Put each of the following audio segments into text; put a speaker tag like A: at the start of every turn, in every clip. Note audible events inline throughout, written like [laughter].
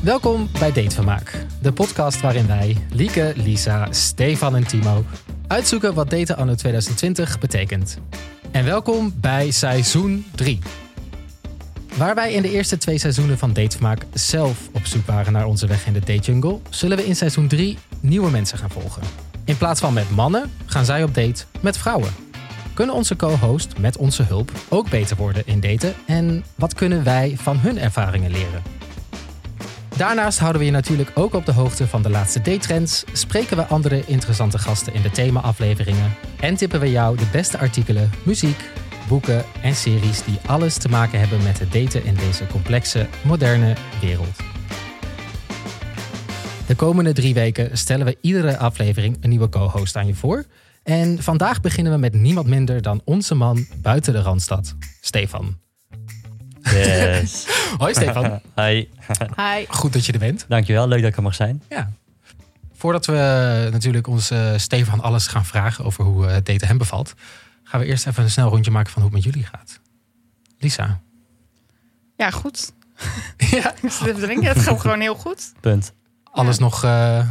A: Welkom bij Datevermaak, de podcast waarin wij, Lieke, Lisa, Stefan en Timo, uitzoeken wat daten anno 2020 betekent. En welkom bij seizoen 3. Waar wij in de eerste twee seizoenen van Datevermaak zelf op zoek waren naar onze weg in de date jungle, zullen we in seizoen 3 nieuwe mensen gaan volgen. In plaats van met mannen gaan zij op date met vrouwen. Kunnen onze co-host met onze hulp ook beter worden in daten en wat kunnen wij van hun ervaringen leren? Daarnaast houden we je natuurlijk ook op de hoogte van de laatste daytrends, spreken we andere interessante gasten in de thema-afleveringen en tippen we jou de beste artikelen, muziek, boeken en series die alles te maken hebben met het daten in deze complexe, moderne wereld. De komende drie weken stellen we iedere aflevering een nieuwe co-host aan je voor. En vandaag beginnen we met niemand minder dan onze man buiten de Randstad, Stefan.
B: Yes.
A: Hoi
B: [laughs]
A: Stefan,
B: Hi.
C: Hi.
A: goed dat je er bent.
B: Dankjewel, leuk dat ik er mag zijn.
A: Ja. Voordat we natuurlijk onze eh, Stefan alles gaan vragen over hoe eh, het daten hem bevalt, gaan we eerst even een snel rondje maken van hoe het met jullie gaat.
C: [laughs]
A: Lisa.
C: Ja, goed.
A: ja.
C: Ik zit even te denken. Het gaat gewoon heel goed.
B: Punt.
A: Alles
C: Ja.
A: nog. eh,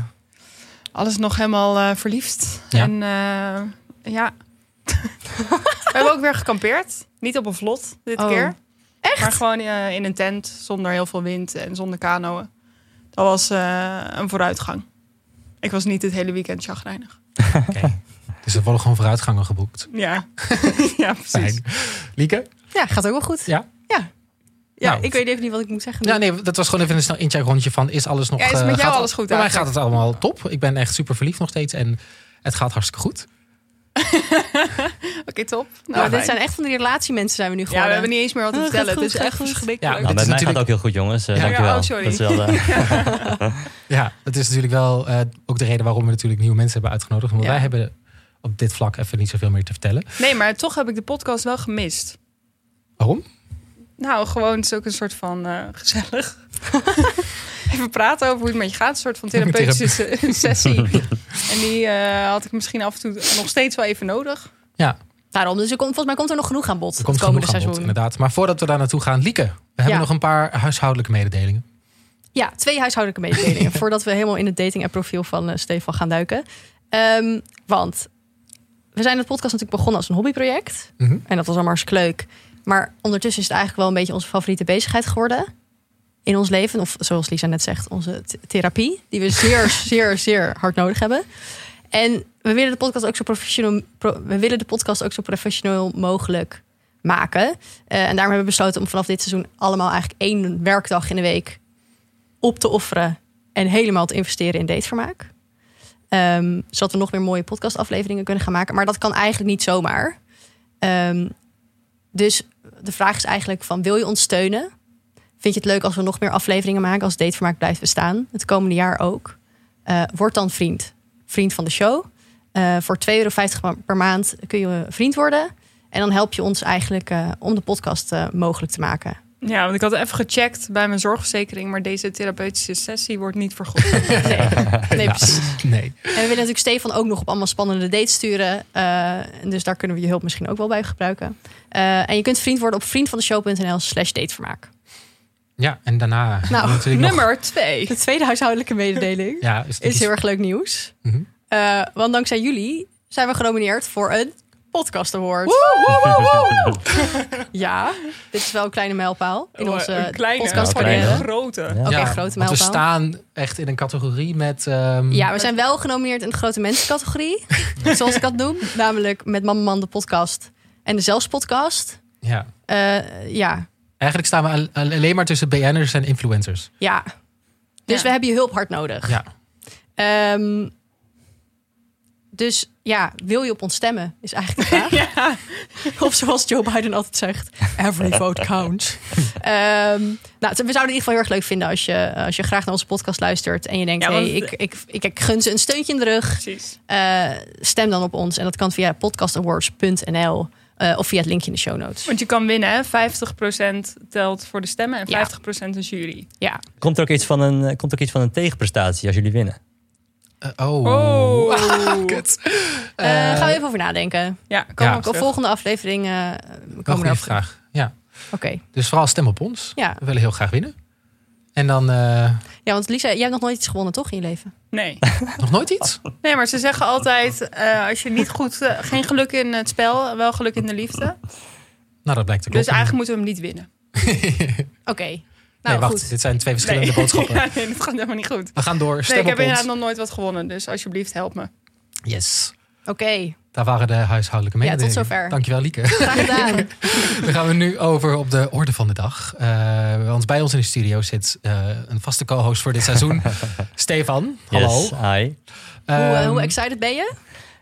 C: Alles nog helemaal eh, verliefd.
A: Ja.
C: En eh, ja. [laughs] We hebben ook weer gekampeerd. Niet op een vlot dit
D: Oh.
C: keer. Echt? Maar gewoon eh, in een tent zonder heel veel wind en zonder kanoën. Dat was eh, een vooruitgang. Ik was niet het hele weekend chagrijnig.
A: Oké. dus er worden gewoon vooruitgangen geboekt.
C: Ja, [laughs] ja precies.
A: Fijn. Lieke?
D: Ja, gaat ook wel goed.
A: Ja?
D: Ja. Ja,
A: Nou,
D: ik weet even niet wat ik moet zeggen.
A: Ja, nee, dat was gewoon even een snel incheck rondje van is alles nog.
C: Ja, is met
A: eh,
C: jou
A: gaat-
C: alles goed
A: Bij mij gaat
C: eigenlijk?
A: het allemaal top. Ik ben echt super verliefd nog steeds en het gaat hartstikke goed.
C: Oké, top. Nou,
D: Nou,
C: fijn.
D: dit zijn echt van die relatiemensen zijn we nu gewoon.
C: ja, we
D: hè?
C: hebben niet eens meer wat te
D: Oh, gaat
C: vertellen.
D: goed,
C: Het is
D: gaat
C: echt
D: goed.
C: verschrikkelijk.
A: Ja,
B: Nou, bij mij
A: is natuurlijk-
B: gaat het ook heel goed, jongens. Eh,
A: Ja.
B: dankjewel.
C: Oh, sorry.
B: Dat is wel,
C: [laughs]
B: eh,
A: Ja, dat is natuurlijk wel eh, ook de reden waarom we natuurlijk nieuwe mensen hebben uitgenodigd. Want
C: Ja.
A: wij hebben op dit vlak even niet zoveel meer te vertellen.
C: Nee, maar toch heb ik de podcast wel gemist.
A: Waarom?
C: Nou, gewoon het is ook een soort van eh, gezellig. [laughs] Even praten over hoe het met je gaat. Een soort van therapeutische se- [laughs] sessie. En die eh, had ik misschien af en toe nog steeds wel even nodig.
A: Ja,
D: Daarom, dus er komt, volgens mij komt er nog genoeg aan bod.
A: er komt
D: het komende
A: genoeg aan bod,
D: seizoen.
A: inderdaad. Maar voordat we daar naartoe gaan, Lieke, we hebben
D: Ja.
A: nog een paar huishoudelijke mededelingen.
D: Ja, twee huishoudelijke [laughs] mededelingen. voordat we helemaal in het dating app profiel van eh, Stefan gaan duiken. Ehm, want we zijn het podcast natuurlijk begonnen als een hobbyproject.
A: Mhm.
D: En dat was allemaal hartstikke leuk. Maar ondertussen is het eigenlijk wel een beetje onze favoriete bezigheid geworden. In ons leven, of zoals Lisa net zegt, onze th- therapie. Die we zeer, zeer, zeer hard nodig hebben. En we willen de podcast ook zo professioneel, pro- we willen de podcast ook zo professioneel mogelijk maken. Eh, en daarom hebben we besloten om vanaf dit seizoen allemaal eigenlijk één werkdag in de week op te offeren. En helemaal te investeren in datevermaak. Ehm, zodat we nog meer mooie podcastafleveringen kunnen gaan maken. Maar dat kan eigenlijk niet zomaar. Ehm, dus de vraag is eigenlijk van wil je ons steunen? Vind je het leuk als we nog meer afleveringen maken? Als datevermaak blijft bestaan. Het komende jaar ook. Eh, word dan vriend. Vriend van de show. Eh, voor 2,50 euro ma- per maand kun je vriend worden. En dan help je ons eigenlijk eh, om de podcast eh, mogelijk te maken.
C: Ja, want ik had even gecheckt bij mijn zorgverzekering. Maar deze therapeutische sessie wordt niet [laughs] vergoed.
D: Nee, nee
A: Helaas.
D: precies.
A: Nee.
D: En we willen natuurlijk Stefan ook nog op allemaal spannende dates sturen. Eh, en dus daar kunnen we je hulp misschien ook wel bij gebruiken. Eh, en je kunt vriend worden op vriendvandeshow.nl slash datevermaak.
A: Ja, en daarna
D: Nou,
A: natuurlijk nog...
C: Nummer twee.
D: De tweede huishoudelijke mededeling
A: Ja, is,
D: is heel erg leuk nieuws.
A: Mhm.
D: Eh, want dankzij jullie zijn we genomineerd voor een podcast award. Ja, dit is wel een kleine mijlpaal in
C: Oh,
D: onze
C: een kleine,
D: podcastcarrière.
B: Ja,
C: een
B: kleine.
C: grote.
B: Ja.
D: Ook
A: Ja,
D: echt grote
A: want we
D: mijlpaal.
A: staan echt in een categorie met... ehm,
D: Ja, we zijn wel genomineerd in de grote mensencategorie. zoals ik dat noem. Namelijk met Mama Man de podcast en de Zelfs podcast.
A: ja.
D: Eh, ja,
A: Eigenlijk staan we al- al- alleen maar tussen BN'ers en influencers.
D: Ja. Dus
C: Ja.
D: we hebben je hulp hard nodig.
A: Ja.
D: Ehm, dus ja, wil je op ons stemmen? Is eigenlijk de
C: [laughs]
D: vraag.
C: Ja.
D: Of zoals Joe Biden altijd zegt, every vote counts. Ehm, nou, we zouden het in ieder geval heel erg leuk vinden als je, als je graag naar onze podcast luistert. En je denkt,
C: Ja, want-
D: hey, ik, ik, ik, ik gun ze een steuntje in de rug.
C: Precies.
D: Eh, stem dan op ons. En dat kan via podcastawards.nl eh, of via het linkje in de show notes.
C: Want je kan winnen, hè? 50% telt voor de stemmen en
D: Ja.
C: 50% een jury.
D: Ja,
B: komt, er ook iets van een, eh, komt er ook iets van een tegenprestatie als jullie winnen?
A: Eh, oh.
C: [laughs] Oh.
A: Kut.
D: Eh, gaan we even over nadenken.
C: Ja, kom
D: Ook
C: op
D: de volgende aflevering eh, we
A: Wel
D: komen
A: goede
D: we erop.
A: vraag. Ja.
D: Oké,
A: Dus vooral stem op ons.
D: ja.
A: We willen heel graag winnen. En En dan eh,
D: Ja, want Lisa, jij hebt nog nooit iets gewonnen, toch, in je leven?
C: Nee.
A: nog nooit iets?
C: Nee, maar ze zeggen altijd: eh, als je niet goed, eh, geen geluk in het spel, wel geluk in de liefde.
A: Nou, dat blijkt te
C: Dus
A: kloppen.
C: eigenlijk
A: [laughs]
C: moeten we hem niet winnen.
D: Oké.
A: nee,
D: Nou,
A: wacht.
D: goed.
A: Dit zijn twee verschillende
C: nee.
D: [laughs]
A: boodschappen.
C: [laughs] Ja, nee, dat gaat helemaal niet goed.
A: We gaan door. Stem
C: nee, ik
A: op ons.
C: heb inderdaad nog nooit wat gewonnen, dus alsjeblieft help me.
A: Yes.
D: Oké,
A: Daar waren de huishoudelijke
D: Ja, tot
A: mededelingen.
D: zover.
A: Dankjewel, Lieke.
D: [laughs] graag gedaan.
A: [laughs] Dan gaan we nu over op de orde van de dag. Eh, want bij ons in de studio zit eh, een vaste co-host voor dit
B: [laughs]
A: seizoen. Stefan, hallo.
B: Yes, hi.
D: hoe, eh,
A: Ehm,
D: hoe excited ben je?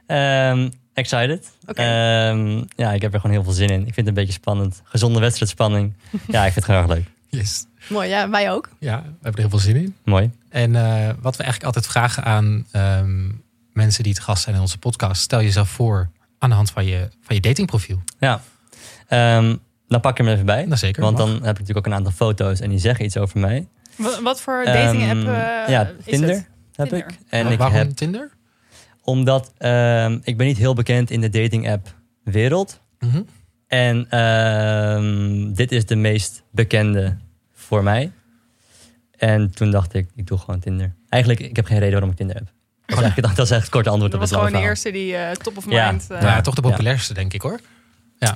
B: Ehm, excited.
D: Oké.
B: Ehm, ja, ik heb er gewoon heel veel zin in. Ik vind het een beetje spannend. Gezonde
C: [laughs]
B: wedstrijdspanning. ja, ik vind het graag leuk.
A: yes.
D: Mooi, ja, wij ook.
A: Ja, we hebben er heel veel zin in.
B: Mooi.
A: En eh, wat we eigenlijk altijd vragen aan ehm, mensen die te gast zijn in onze podcast. Stel jezelf voor aan de hand van je, van je datingprofiel.
B: Ja. Ehm, dan pak ik hem even bij.
A: Nou, zeker.
B: Want
A: mag.
B: dan heb ik natuurlijk ook een aantal foto's en die zeggen iets over mij.
C: Wat, wat voor dating app
B: Ehm,
C: eh,
B: ja,
C: is
B: Tinder
C: het?
B: heb
C: Tinder.
B: ik. En ik
A: Waarom
B: heb,
A: Tinder?
B: omdat ehm, ik ben niet heel bekend in de dating app wereld.
A: Mhm.
B: En ehm, dit is de meest bekende voor mij. En toen dacht ik, ik doe gewoon Tinder. Eigenlijk, ik heb geen reden waarom ik Tinder heb. Dat is eigenlijk, dat is eigenlijk het korte antwoord
C: Dat
B: op het
C: was gewoon
B: lange
C: de
B: verhaal.
C: eerste die eh, top of
B: Ja.
C: mind. eh,
A: Nou ja,
B: Ja.
A: toch de populairste, denk ik hoor.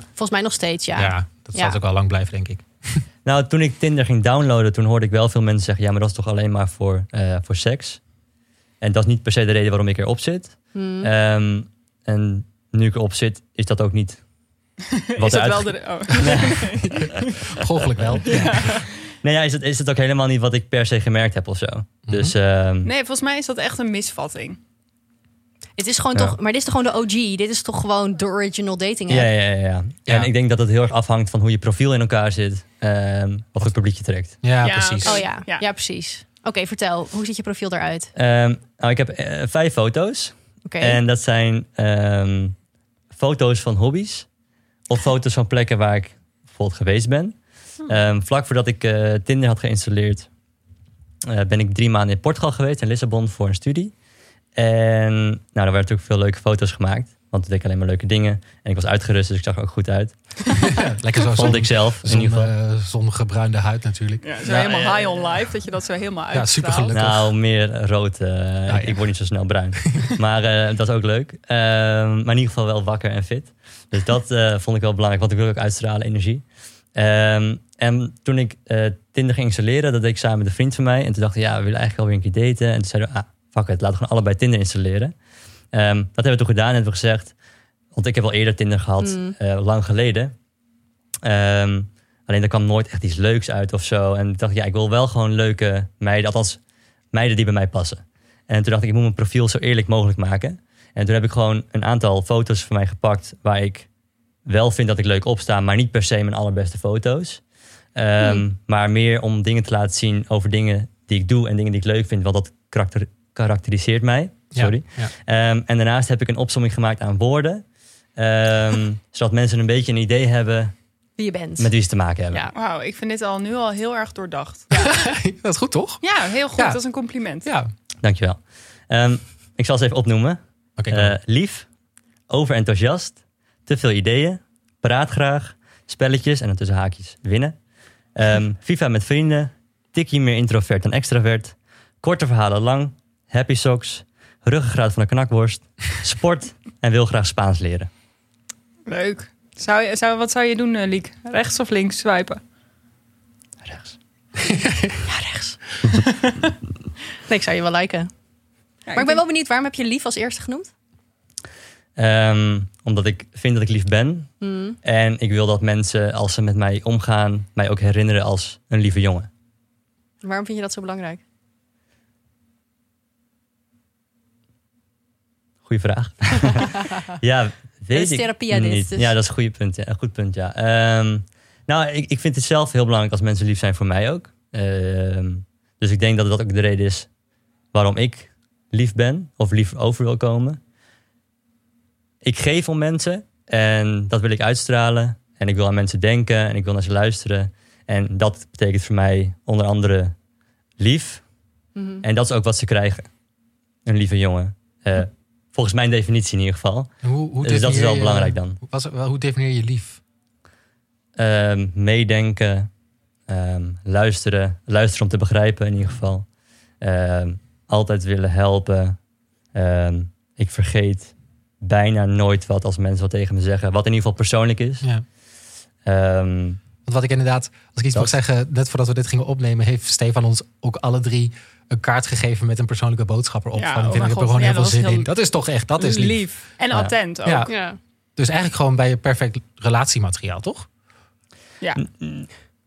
D: Volgens mij nog steeds, ja.
A: Ja, dat zal
D: Ja.
A: het ook wel lang blijven,
B: [laughs]
A: denk ik.
B: Nou, toen ik Tinder ging downloaden, toen hoorde ik wel veel mensen zeggen... ja, maar dat is toch alleen maar voor, eh, voor seks? En dat is niet per se de reden waarom ik erop zit.
C: Hm.
D: Hmm.
B: Ehm, en nu ik erop zit, is dat ook
C: [laughs]
B: niet...
C: eh, is
B: Wat
C: dat
B: eruit-
C: wel de. oh.
A: Golfelijk wel.
B: Nee, ja, is, het, is het ook helemaal niet wat ik per se gemerkt heb of zo.
C: Mhm.
B: Dus ehm,
C: Nee, volgens mij is dat echt een misvatting.
D: Het is gewoon
B: Ja.
D: toch, maar dit is toch gewoon de OG. Dit is toch gewoon de original dating app.
B: Ja, ja, ja, ja.
A: Ja.
B: En ik denk dat het heel erg afhangt van hoe je profiel in elkaar zit. ehm, wat voor publiek je trekt.
A: Ja,
C: Ja,
A: precies.
D: Oh ja, ja,
C: Ja.
D: precies. Oké, vertel. Hoe ziet je profiel eruit?
B: Ehm, nou, ik heb eh, vijf foto's.
D: Oké.
B: En dat zijn ehm, foto's van hobby's. Of foto's van plekken waar ik bijvoorbeeld geweest ben. Ehm, vlak voordat ik eh, Tinder had geïnstalleerd... eh, ben ik drie maanden in Portugal geweest, in Lissabon, voor een studie. En nou, daar werden natuurlijk veel leuke foto's gemaakt. Want toen deed ik alleen maar leuke dingen. En ik was uitgerust, dus ik zag er ook goed
A: [laughs]
B: uit.
A: Ja, lekker Oh, zo
B: Vond ik zelf, in
A: zon,
B: ieder geval.
A: eh, zongebruinde huid natuurlijk.
C: Ja, zo
B: Nou,
C: helemaal
B: eh,
C: high on life, dat je dat zo helemaal uit.
A: Ja, supergelukkig.
B: Nou, meer rood. eh, ik- Ik word niet zo snel bruin. [laughs] maar eh, dat is ook leuk. Ehm, maar in ieder geval wel wakker en fit. Dus dat eh, vond ik wel belangrijk, want ik wil ook uitstralen energie. Ehm, en toen ik eh, Tinder ging installeren, dat deed ik samen met een vriend van mij. En toen dacht ik, ja, we willen eigenlijk alweer een keer daten. En toen zeiden we, ah, fuck it, laten we gewoon allebei Tinder installeren. Ehm, dat hebben we toen gedaan en hebben we gezegd... Want ik heb al eerder Tinder gehad,
D: Mm.
B: eh, lang geleden. Ehm, alleen er kwam nooit echt iets leuks uit of zo. En ik dacht, ja, ik wil wel gewoon leuke meiden. Althans, meiden die bij mij passen. En toen dacht ik, ik moet mijn profiel zo eerlijk mogelijk maken. En toen heb ik gewoon een aantal foto's van mij gepakt... waar ik wel vind dat ik leuk opsta... maar niet per se mijn allerbeste foto's. Ehm, Maar meer om dingen te laten zien over dingen die ik doe... en dingen die ik leuk vind, want dat karakter- karakteriseert mij.
A: Ja,
B: Sorry.
A: ja. [laughs]
B: Ehm, en daarnaast heb ik een opsomming gemaakt aan woorden... ehm, zodat mensen een beetje een idee hebben
D: Wie je bent.
B: met wie ze te maken hebben.
D: Ja.
C: Wauw, ik vind dit al nu al heel erg doordacht.
A: Dat is goed, toch?
C: Ja, heel goed.
A: Ja.
C: Dat is een compliment.
A: Ja. Oké,
B: Dankjewel. Ehm, ik zal ze even opnoemen.
A: kom.
B: Eh, lief, overenthousiast, te veel ideeën, praat graag, spelletjes en dan tussen haakjes winnen. Ehm FIFA met vrienden, tikkie meer introvert dan extravert, korte verhalen lang, happy socks, ruggengraat van een knakworst, sport en wil graag Spaans leren.
C: Leuk. Zou je, zou, wat zou je doen, eh, Liek? Rechts of links swipen?
B: Rechts.
D: Ja, rechts. nee, ik zou je wel liken. Maar ik ben wel benieuwd, waarom heb je lief als eerste genoemd?
B: Ehm, omdat ik vind dat ik lief ben
D: Hmm.
B: en ik wil dat mensen als ze met mij omgaan mij ook herinneren als een lieve jongen.
D: Waarom vind je dat zo belangrijk?
B: [laughs] Goeie vraag. ja, weet
D: is
B: ik
D: therapie, hè, dit,
B: niet.
D: dus.
B: Ja, dat is een goede punt. Ja. Een goed punt, ja. Ehm, nou, ik, ik vind het zelf heel belangrijk als mensen lief zijn voor mij ook. Ehm, dus ik denk dat dat ook de reden is waarom ik lief ben of lief over wil komen. Ik geef om mensen en dat wil ik uitstralen. En ik wil aan mensen denken en ik wil naar ze luisteren. En dat betekent voor mij onder andere lief,
D: Mhm.
B: en dat is ook wat ze krijgen. Een lieve jongen. Eh, Volgens mijn definitie in ieder geval.
A: hoe, hoe
B: dus dat is
A: definieer
B: wel
A: je-
B: belangrijk dan.
A: Hoe- Was, wel, hoe definieer je lief?
B: Ehm, meedenken. Ehm, luisteren, luisteren om te begrijpen in ieder geval. Ehm, altijd willen helpen. Ehm, ik vergeet bijna nooit wat als mensen wat tegen me zeggen. Wat in ieder geval persoonlijk is.
A: Ja.
B: Ehm,
A: Want wat ik inderdaad, als ik iets mag
B: Dat-
A: zeggen, net voordat we dit gingen opnemen, heeft Stefan ons ook alle drie een kaart gegeven met een persoonlijke boodschap erop.
C: Ja,
A: van,
C: oh
A: ik
C: mijn
A: heb er
C: God,
A: gewoon
C: ja,
A: heel veel
C: dat was
A: zin
C: heel-
A: in. Dat is toch echt, dat is lief.
C: En
B: Ja.
C: attent ook.
A: Ja.
C: Ja.
E: Ja.
A: Dus eigenlijk gewoon bij je perfect relatiemateriaal, toch?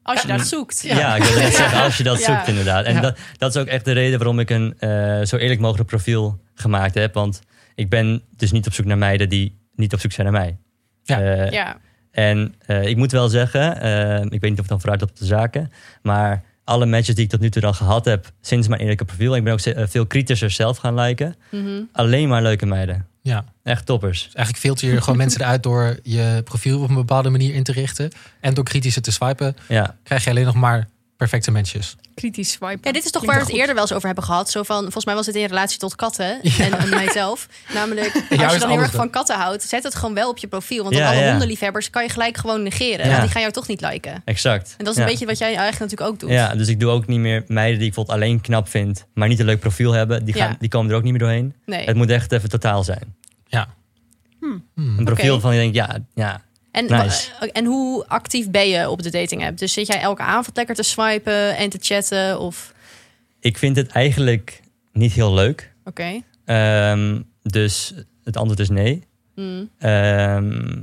C: Als je dat zoekt.
B: Ja, ik wil net zeggen, als je dat
C: Ja.
B: zoekt inderdaad. En
A: Ja.
B: dat, dat is ook echt de reden waarom ik een eh, zo eerlijk mogelijk profiel gemaakt heb. Want ik ben dus niet op zoek naar meiden die niet op zoek zijn naar mij.
A: Ja.
B: Eh,
E: Ja.
B: En eh, ik moet wel zeggen, eh, ik weet niet of het dan vooruit op de zaken, maar alle matches die ik tot nu toe dan gehad heb sinds mijn eerlijke profiel, en ik ben ook ze- eh, veel kritischer zelf gaan liken,
E: Mhm.
B: alleen maar leuke meiden.
A: Ja.
B: Echt toppers.
A: Dus eigenlijk filter je gewoon mensen eruit door je profiel op een bepaalde manier in te richten. En door kritische te swipen,
B: Ja,
A: krijg je alleen nog maar perfecte mensjes.
C: Kritisch swipen.
D: Ja, dit is toch waar
C: Klinkt
D: we
C: wel
D: het
C: goed.
D: eerder wel eens over hebben gehad. Zo van, volgens mij was het in relatie tot
B: [laughs]
D: katten en, en mijzelf. Namelijk, als
A: Juist
D: je dan heel
A: alles
D: erg
A: dan.
D: van katten houdt, zet het gewoon wel op je profiel. Want
B: Ja,
D: dan alle
B: ja.
D: hondenliefhebbers kan je gelijk gewoon negeren.
B: Ja.
D: Want die gaan jou toch niet liken.
B: exact.
D: En dat is
B: Ja.
D: een beetje wat jij eigenlijk natuurlijk ook doet.
B: Ja, dus ik doe ook niet meer meiden die ik bijvoorbeeld alleen knap vind, maar niet een leuk profiel hebben. Die, gaan,
D: Ja.
B: die komen er ook niet meer doorheen.
D: Nee.
B: Het moet echt even totaal zijn.
A: Hmm.
B: Een profiel
D: Oké.
B: van je denkt, ja, ja.
D: En,
B: Nice.
D: wa- eh, en hoe actief ben je op de dating app? Dus zit jij elke avond lekker te swipen en te chatten? Of
B: Ik vind het eigenlijk niet heel leuk.
D: oké.
B: Ehm, dus het antwoord is nee.
D: Hmm.
B: Ehm,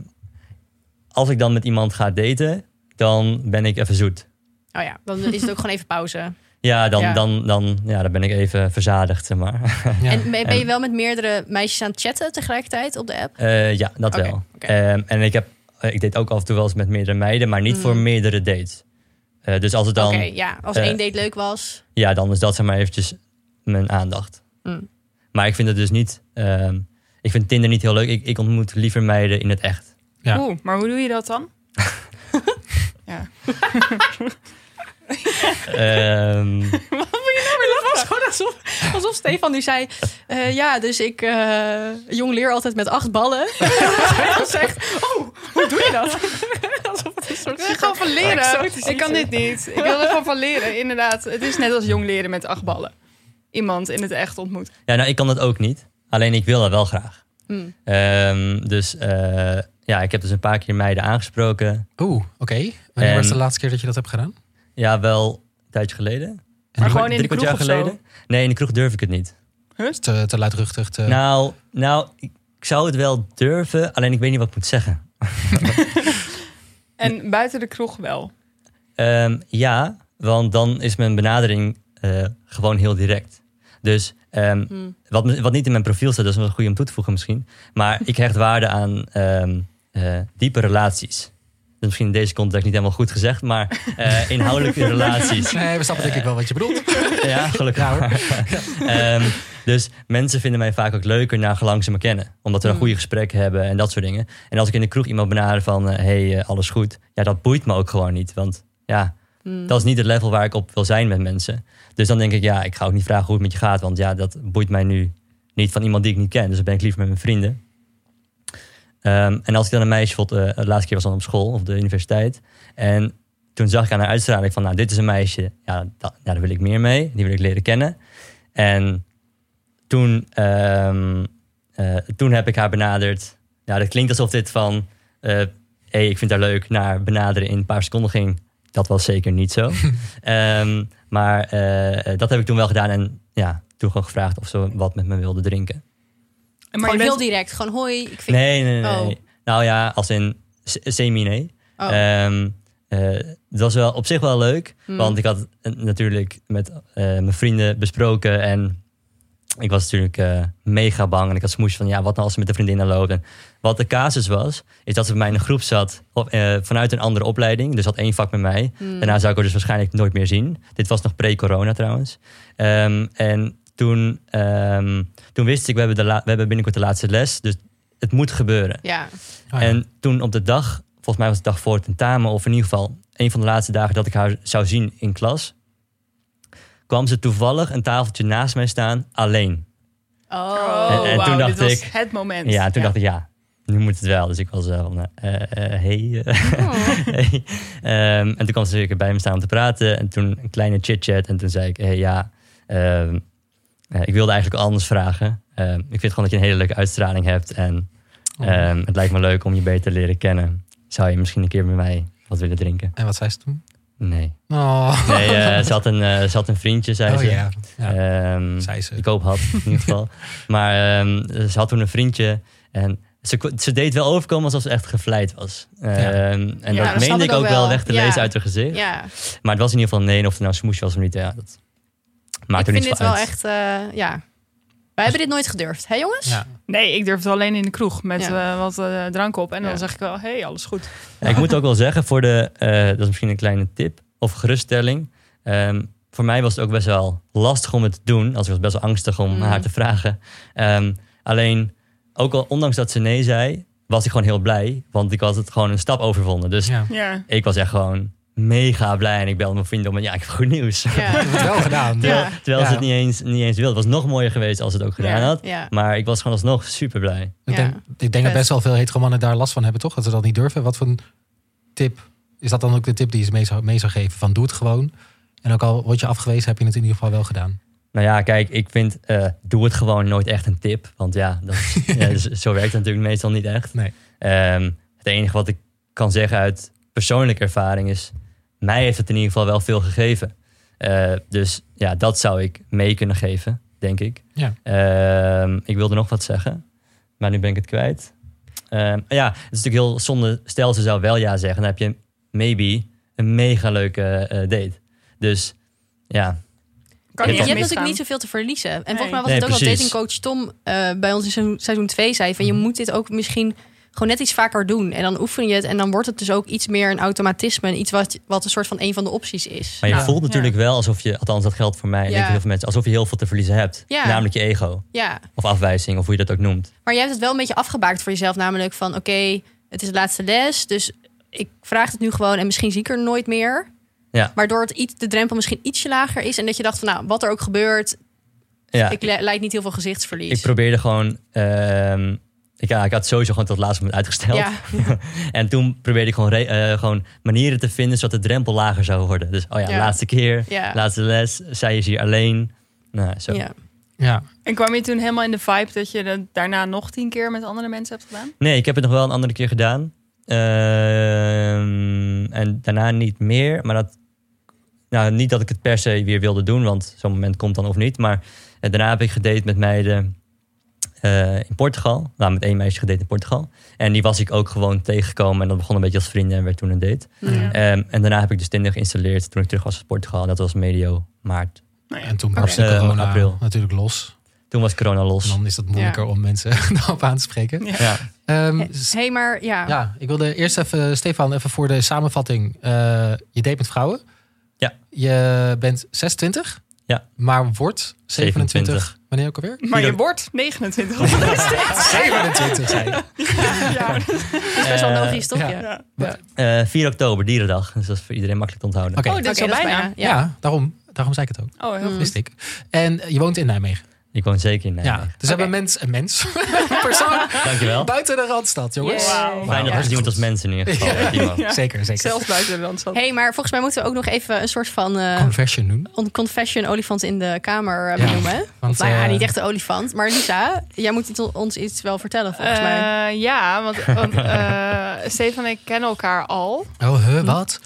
B: als ik dan met iemand ga daten, dan ben ik even zoet.
D: Oh ja, dan is het ook gewoon even
B: [laughs]
D: pauze.
B: Ja, dan,
D: Ja.
B: Dan, dan, ja, dan ben ik even verzadigd, zeg maar. [laughs]
A: Ja.
D: En ben, ben je
B: En-
D: wel met meerdere meisjes aan het chatten tegelijkertijd op de app?
B: Eh, ja, dat
D: Oké,
B: wel.
D: oké.
B: Ehm, en ik, heb, eh, ik date ook af en toe wel eens met meerdere meiden, maar niet
D: Mm.
B: voor meerdere dates. Eh, dus als het dan,
D: Oké, ja. Als
B: eh,
D: één date leuk was.
B: ja, dan is dat zeg maar eventjes mijn aandacht.
D: Mm.
B: Maar ik vind het dus niet, ehm, ik vind Tinder niet heel leuk. Ik, ik ontmoet liever meiden in het echt.
A: Ja.
C: Oeh, maar hoe doe je dat
B: [laughs]
C: dan? ja. [laughs]
B: Ehm, [laughs]
C: nou
D: Het was gewoon alsof, alsof Stefan nu zei... eh, ja, dus ik eh, jong leer altijd met acht ballen. [laughs] en dan zegt... Oh, hoe doe je dat? alsof het een
C: Ik
D: soort
C: wil er gewoon van leren.
D: exotisch
C: Ik kan
D: iets
C: dit niet. Ik wil er gewoon van leren, inderdaad. Het is net als jong leren met acht ballen. Iemand in het echt ontmoet.
B: ja, nou, ik kan dat ook niet. Alleen ik wil dat wel graag.
D: Hmm.
B: Ehm, dus eh, ja, ik heb dus een paar keer meiden aangesproken.
A: Oeh, oké. Wanneer
B: En-
A: was de laatste keer dat je dat hebt gedaan?
B: Ja, wel een tijdje geleden.
A: En
C: Maar
A: hoe-
C: gewoon in
B: Drie
C: de kroeg
B: kwart jaar
C: of zo?
B: geleden. Nee, in de kroeg durf ik het niet.
A: te, te luidruchtig, te... [laughs]
B: Nou, nou, ik ik zou het wel durven, alleen ik weet niet wat ik moet zeggen.
C: En buiten de kroeg wel.
B: Ehm, ja, want dan is mijn benadering eh, gewoon heel direct. Dus ehm,
D: Hmm.
B: wat, me- wat niet in mijn profiel staat, dat is wel goed om toe te voegen misschien. Maar ik hecht waarde aan ehm, eh, diepe relaties. Dat is misschien in deze context niet helemaal goed gezegd, maar
A: [laughs]
B: eh, inhoudelijke relaties.
A: Nee, we snappen denk ik wel wat je bedoelt.
B: [laughs] Ja, gelukkig.
A: Ja, hoor. Oh,
B: Ehm, dus mensen vinden mij vaak ook leuker naar gelang ze me kennen. Omdat we een
D: Mm.
B: goede gesprekken hebben en dat soort dingen. En als ik in de kroeg iemand benader van... eh, hey, eh, alles goed. Ja, dat boeit me ook gewoon niet. Want ja,
D: Hmm.
B: dat is niet het level waar ik op wil zijn met mensen. Dus dan denk ik, ja, ik ga ook niet vragen hoe het met je gaat. Want ja, dat boeit mij nu niet van iemand die ik niet ken. Dus dan ben ik liever met mijn vrienden. Ehm, en als ik dan een meisje vond... eh, de laatste keer was dan op school of de universiteit. En toen zag ik aan haar uitstraling van... Nou, dit is een meisje. Ja, dat, ja, daar wil ik meer mee. Die wil ik leren kennen. En toen, ehm, eh, toen heb ik haar benaderd. Ja, dat klinkt alsof dit van... eh hey, ik vind haar leuk, naar benaderen in een paar seconden ging. Dat was zeker niet
D: [laughs]
B: zo. Ehm, maar eh, dat heb ik toen wel gedaan. En ja, toen gewoon gevraagd of ze wat met me wilde drinken.
C: En Maar
D: gewoon
C: je
D: heel
C: bent,
D: direct. Gewoon hoi. Ik vind...
B: Nee, nee, nee.
D: Oh.
B: nee. Nou ja, als in se- semi-nee.
D: Oh.
B: Ehm, eh, dat was wel op zich wel leuk.
D: Hmm.
B: Want ik had eh, natuurlijk met eh, mijn vrienden besproken. En ik was natuurlijk eh, mega bang. En ik had smoes van, ja, wat nou als ze met de vriendinnen loopt? En wat de casus was, is dat ze bij mij in een groep zat. Op, eh, vanuit een andere opleiding. Dus had één vak met mij.
D: Hmm.
B: Daarna zou ik haar dus waarschijnlijk nooit meer zien. Dit was nog pre-corona trouwens. Ehm, en toen, ehm, toen wist ik, we hebben, de la- we hebben binnenkort de laatste les. Dus het moet gebeuren.
D: Ja.
A: Oh, ja.
B: En toen op de dag, volgens mij was de dag voor het tentamen, of in ieder geval een van de laatste dagen dat ik haar zou zien in klas, kwam ze toevallig een tafeltje naast mij staan, alleen.
D: Oh.
C: oh,
B: En- en toen
C: wauw,
B: dacht
C: dit was
B: ik-
C: het moment.
B: Ja, toen dacht ik, ja, nu moet het wel. Dus ik was wel van, eh, eh, eh, hey. [laughs] eh, hey. Ehm, en toen kwam ze natuurlijk bij me staan om te praten. En toen een kleine chit-chat. En toen zei ik, hey, ja, ehm, eh, ik wilde eigenlijk anders vragen. Ehm, ik vind gewoon dat je een hele leuke uitstraling hebt. En
A: Oh.
B: ehm, het lijkt me leuk om je beter te leren kennen. Zou je misschien een keer met mij wat willen drinken?
A: En wat zei ze toen?
B: Nee.
A: Oh,
B: Nee, eh, ze, had een, eh, ze had een vriendje, zei
A: oh
B: ze.
A: ja. ja.
B: Ehm,
A: zei ze.
B: ik hoop had in ieder geval. Maar ehm, ze had toen een vriendje en ze, ko- ze deed wel overkomen alsof ze echt gevleid was. Ehm, en
D: dat
B: dat
D: snap
B: meende
D: ik
B: ik ook
D: ook
B: wel,
D: wel.
B: weg te
D: Ja.
B: lezen uit haar gezicht.
D: Ja,
B: Maar het was in ieder geval nee, en of het nou smoes was of niet. Ja, dat maakt
D: ik
B: er
D: vind
B: niet
D: dit
B: van
D: wel
B: uit.
D: echt... eh, ja. Wij hebben dit nooit gedurfd, hè jongens?
A: Ja.
C: Nee, ik durf het alleen in de kroeg met
D: Ja.
C: eh, wat eh, drank op. En
B: Ja.
C: dan zeg ik wel, hé, hey, alles goed.
B: Ja, ik moet ook wel zeggen, voor de, eh, dat is misschien een kleine tip of geruststelling. Ehm, voor mij was het ook best wel lastig om het te doen. Als ik was best wel angstig om
D: Mm.
B: haar te vragen. Ehm, alleen, ook al ondanks dat ze nee zei, was ik gewoon heel blij. Want ik had het gewoon een stap overwonnen. Dus
A: Ja.
C: Ja.
B: ik was echt gewoon mega blij. En ik belde mijn vrienden om en ja, ik heb goed nieuws.
D: Ja.
A: Dat wel gedaan.
B: terwijl [laughs] terwijl ze
A: Ja.
B: het niet eens, niet eens wilde. Het was nog mooier geweest als ze het ook gedaan
C: Ja.
B: had.
D: Ja.
B: Maar ik was gewoon alsnog super blij.
A: Ik denk,
D: Ja.
A: ik denk dat best wel veel heteromannen daar last van hebben, toch? Dat ze dat niet durven. Wat voor een tip is dat dan ook de tip die je mee zou, mee zou geven? Van doe het gewoon. En ook al word je afgewezen, heb je het in ieder geval wel gedaan.
B: Nou ja, kijk, ik vind, eh, doe het gewoon nooit echt een tip. Want ja, dat,
A: [laughs]
B: ja, dus zo werkt het natuurlijk meestal niet echt.
A: Nee.
B: Ehm, het enige wat ik kan zeggen uit persoonlijke ervaring is... mij heeft het in ieder geval wel veel gegeven. Eh, dus ja, dat zou ik mee kunnen geven, denk ik.
A: Ja.
B: Ehm, ik wilde nog wat zeggen, maar nu ben ik het kwijt. Ehm, ja, het is natuurlijk heel zonde. Stel, ze zou wel ja zeggen, dan heb je maybe een mega leuke eh, date. Dus ja,
C: Kan
D: En
C: niet
D: je
C: echt
D: hebt
C: misgaan.
D: natuurlijk niet zoveel te verliezen. En volgens mij was
B: Nee,
D: het ook wat
B: precies. Mhm.
D: datingcoach Tom eh, bij ons in seizoen- seizoen 2 zei. Van, je moet dit ook misschien gewoon net iets vaker doen. En dan oefen je het. En dan wordt het dus ook iets meer een automatisme. En iets wat, wat een soort van een van de opties is.
B: Maar je
A: Ja.
B: voelt natuurlijk wel alsof je, althans dat geldt voor mij en
D: Nou, Ja.
B: denk ik heel veel mensen, alsof je heel veel te verliezen hebt.
D: Ja.
B: Namelijk je ego
D: Ja,
B: of afwijzing of hoe je dat ook noemt.
D: maar je hebt het wel een beetje afgebaakt voor jezelf. Namelijk van, oké, het is de laatste les. Dus ik vraag het nu gewoon. En misschien zie ik er nooit meer.
B: Ja.
D: Waardoor het iets, de drempel misschien ietsje lager is. En dat je dacht van, nou, wat er ook gebeurt.
B: Ja,
D: Ik
B: ik,
D: le- leid niet heel veel gezichtsverlies.
B: probeerde gewoon, ehm, ik, ja, ik had sowieso gewoon tot het laatste moment uitgesteld.
D: ja,
B: En toen probeerde ik gewoon, re- eh, gewoon manieren te vinden zodat de drempel lager zou worden. Dus oh ja,
D: Ja.
B: laatste keer,
D: ja,
B: laatste les, zij is hier alleen. Nou, zo.
D: ja.
A: Ja,
C: En kwam je toen helemaal in de vibe dat je dat daarna nog tien keer met andere mensen hebt gedaan?
B: Nee, ik heb het nog wel een andere keer gedaan. Ehm, en daarna niet meer. Maar dat, nou, niet dat ik het per se weer wilde doen, want zo'n moment komt dan of niet. Maar eh, daarna heb ik gedate met meiden eh, in Portugal. Nou, met één meisje gedate in Portugal. En die was ik ook gewoon tegengekomen. En dat begon een beetje als vrienden en werd toen een date.
A: Ja.
B: Ehm, en daarna heb ik dus Tinder geïnstalleerd toen ik terug was uit Portugal. En dat was medio maart.
C: Nou ja.
A: en toen barst de
B: Oké. Eh,
A: corona
B: april.
A: natuurlijk los.
B: Toen was corona
A: En
B: los.
A: dan is het moeilijker om mensen [laughs] daarop aan te spreken.
C: Ja.
D: [laughs]
B: Ja.
A: Ehm,
D: Hé,
A: s-
D: hey, maar ja.
A: ja, ik wilde eerst even, Stefan, even voor de samenvatting. Eh, je date met vrouwen.
B: Ja.
A: Je bent 26.
B: Ja.
A: Maar wordt 27.
B: 27.
A: Wanneer ook
B: [laughs]
A: alweer?
C: Maar je
B: Ieder-
C: wordt 29. Dat is dit.
A: [laughs] 27 zei je.
C: ja,
D: Dat is best wel
B: Eh,
D: logisch, toch?
A: ja.
D: Ja.
C: ja.
B: Eh, 4 oktober, dierendag. Dus dat is voor iedereen makkelijk te onthouden.
A: Oké.
C: Oh, dit is
D: Oké,
C: al
D: dat is
C: bijna.
A: Ja,
D: Ja.
A: daarom, daarom zei ik het ook.
C: Oh, heel
D: Mm.
C: goed.
A: Wist ik. En eh, je woont in Nijmegen.
B: Ik woon zeker in Nijmegen.
A: ja. Dus hebben mens, een mens, [laughs] een persoon
B: Dankjewel.
A: buiten de Randstad, jongens.
D: Yes.
C: Wauw.
B: Fijn dat
A: Ja.
B: we iemand als mensen in ieder geval. eh, Timo.
C: Ja.
A: [laughs] Zeker, zeker.
C: Zelfs buiten de landstad.
D: hey, maar volgens mij moeten we ook nog even een soort van eh
A: Conversion doen.
D: on- confession olifant in de kamer eh,
A: Ja,
D: benoemen.
A: Want,
D: nou ja,
A: eh,
D: niet echt een olifant. Maar Lisa, jij moet iets- ons iets wel vertellen, volgens mij.
C: Eh, ja, want, want eh, Stefan en ik kennen elkaar
D: [laughs]
C: al.
A: Oh, huh, wat?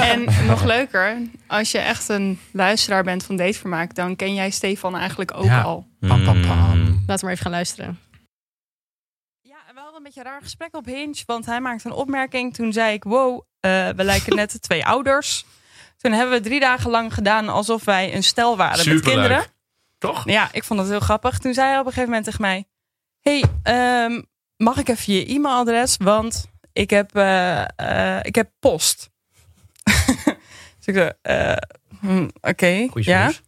C: En nog leuker, als je echt een luisteraar bent van Datevermaak... dan ken jij Stefan eigenlijk ook
A: Ja.
C: al.
A: Pam, pam, pam.
B: Mm.
D: Laten we maar even gaan
C: [laughs]
D: luisteren.
E: Ja, en we hadden een beetje een raar gesprek op Hinge, want hij maakte een opmerking. Toen zei ik, wow, eh, we lijken net [laughs] de twee ouders. Toen hebben we drie dagen lang gedaan alsof wij een stel waren met
F: Superleuk.
E: kinderen.
F: Toch?
E: Ja, ik vond dat heel grappig. Toen zei hij op een gegeven moment tegen mij... hey, ehm, mag ik even je e-mailadres? Want ik heb, eh, eh, ik heb post. [laughs] dus ik zei, eh, hm, oké,
F: Goeie
E: ja.
F: smoes.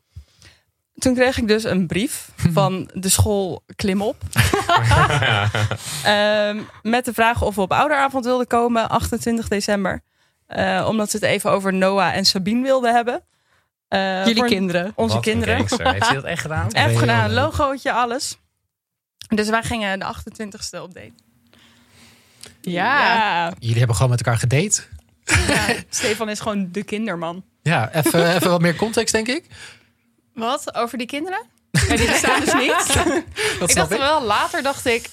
E: Toen kreeg ik dus een
F: [laughs]
E: brief van de school Klimop. Ehm, met de vraag of we op ouderavond wilden komen, 28 december. Eh, omdat ze het even over Noah en Sabine wilden hebben. Eh, voor
D: kinderen.
E: Onze
F: Wat een
E: kinderen.
F: gangster. Heeft hij dat echt gedaan?
E: Echt
A: Heel
E: gedaan,
A: leuk.
E: logootje, alles. Dus wij gingen de 28ste op date.
C: Ja.
A: Jullie hebben gewoon met elkaar gedate.
C: Ja.
E: Stefan is gewoon de kinderman.
A: Ja, even, [laughs] even wat meer context, denk ik.
C: Wat? Over die kinderen? Ja, die bestaan dus niet.
A: Dat
C: ik
A: snap
C: dacht
A: ik.
C: wel, later dacht ik...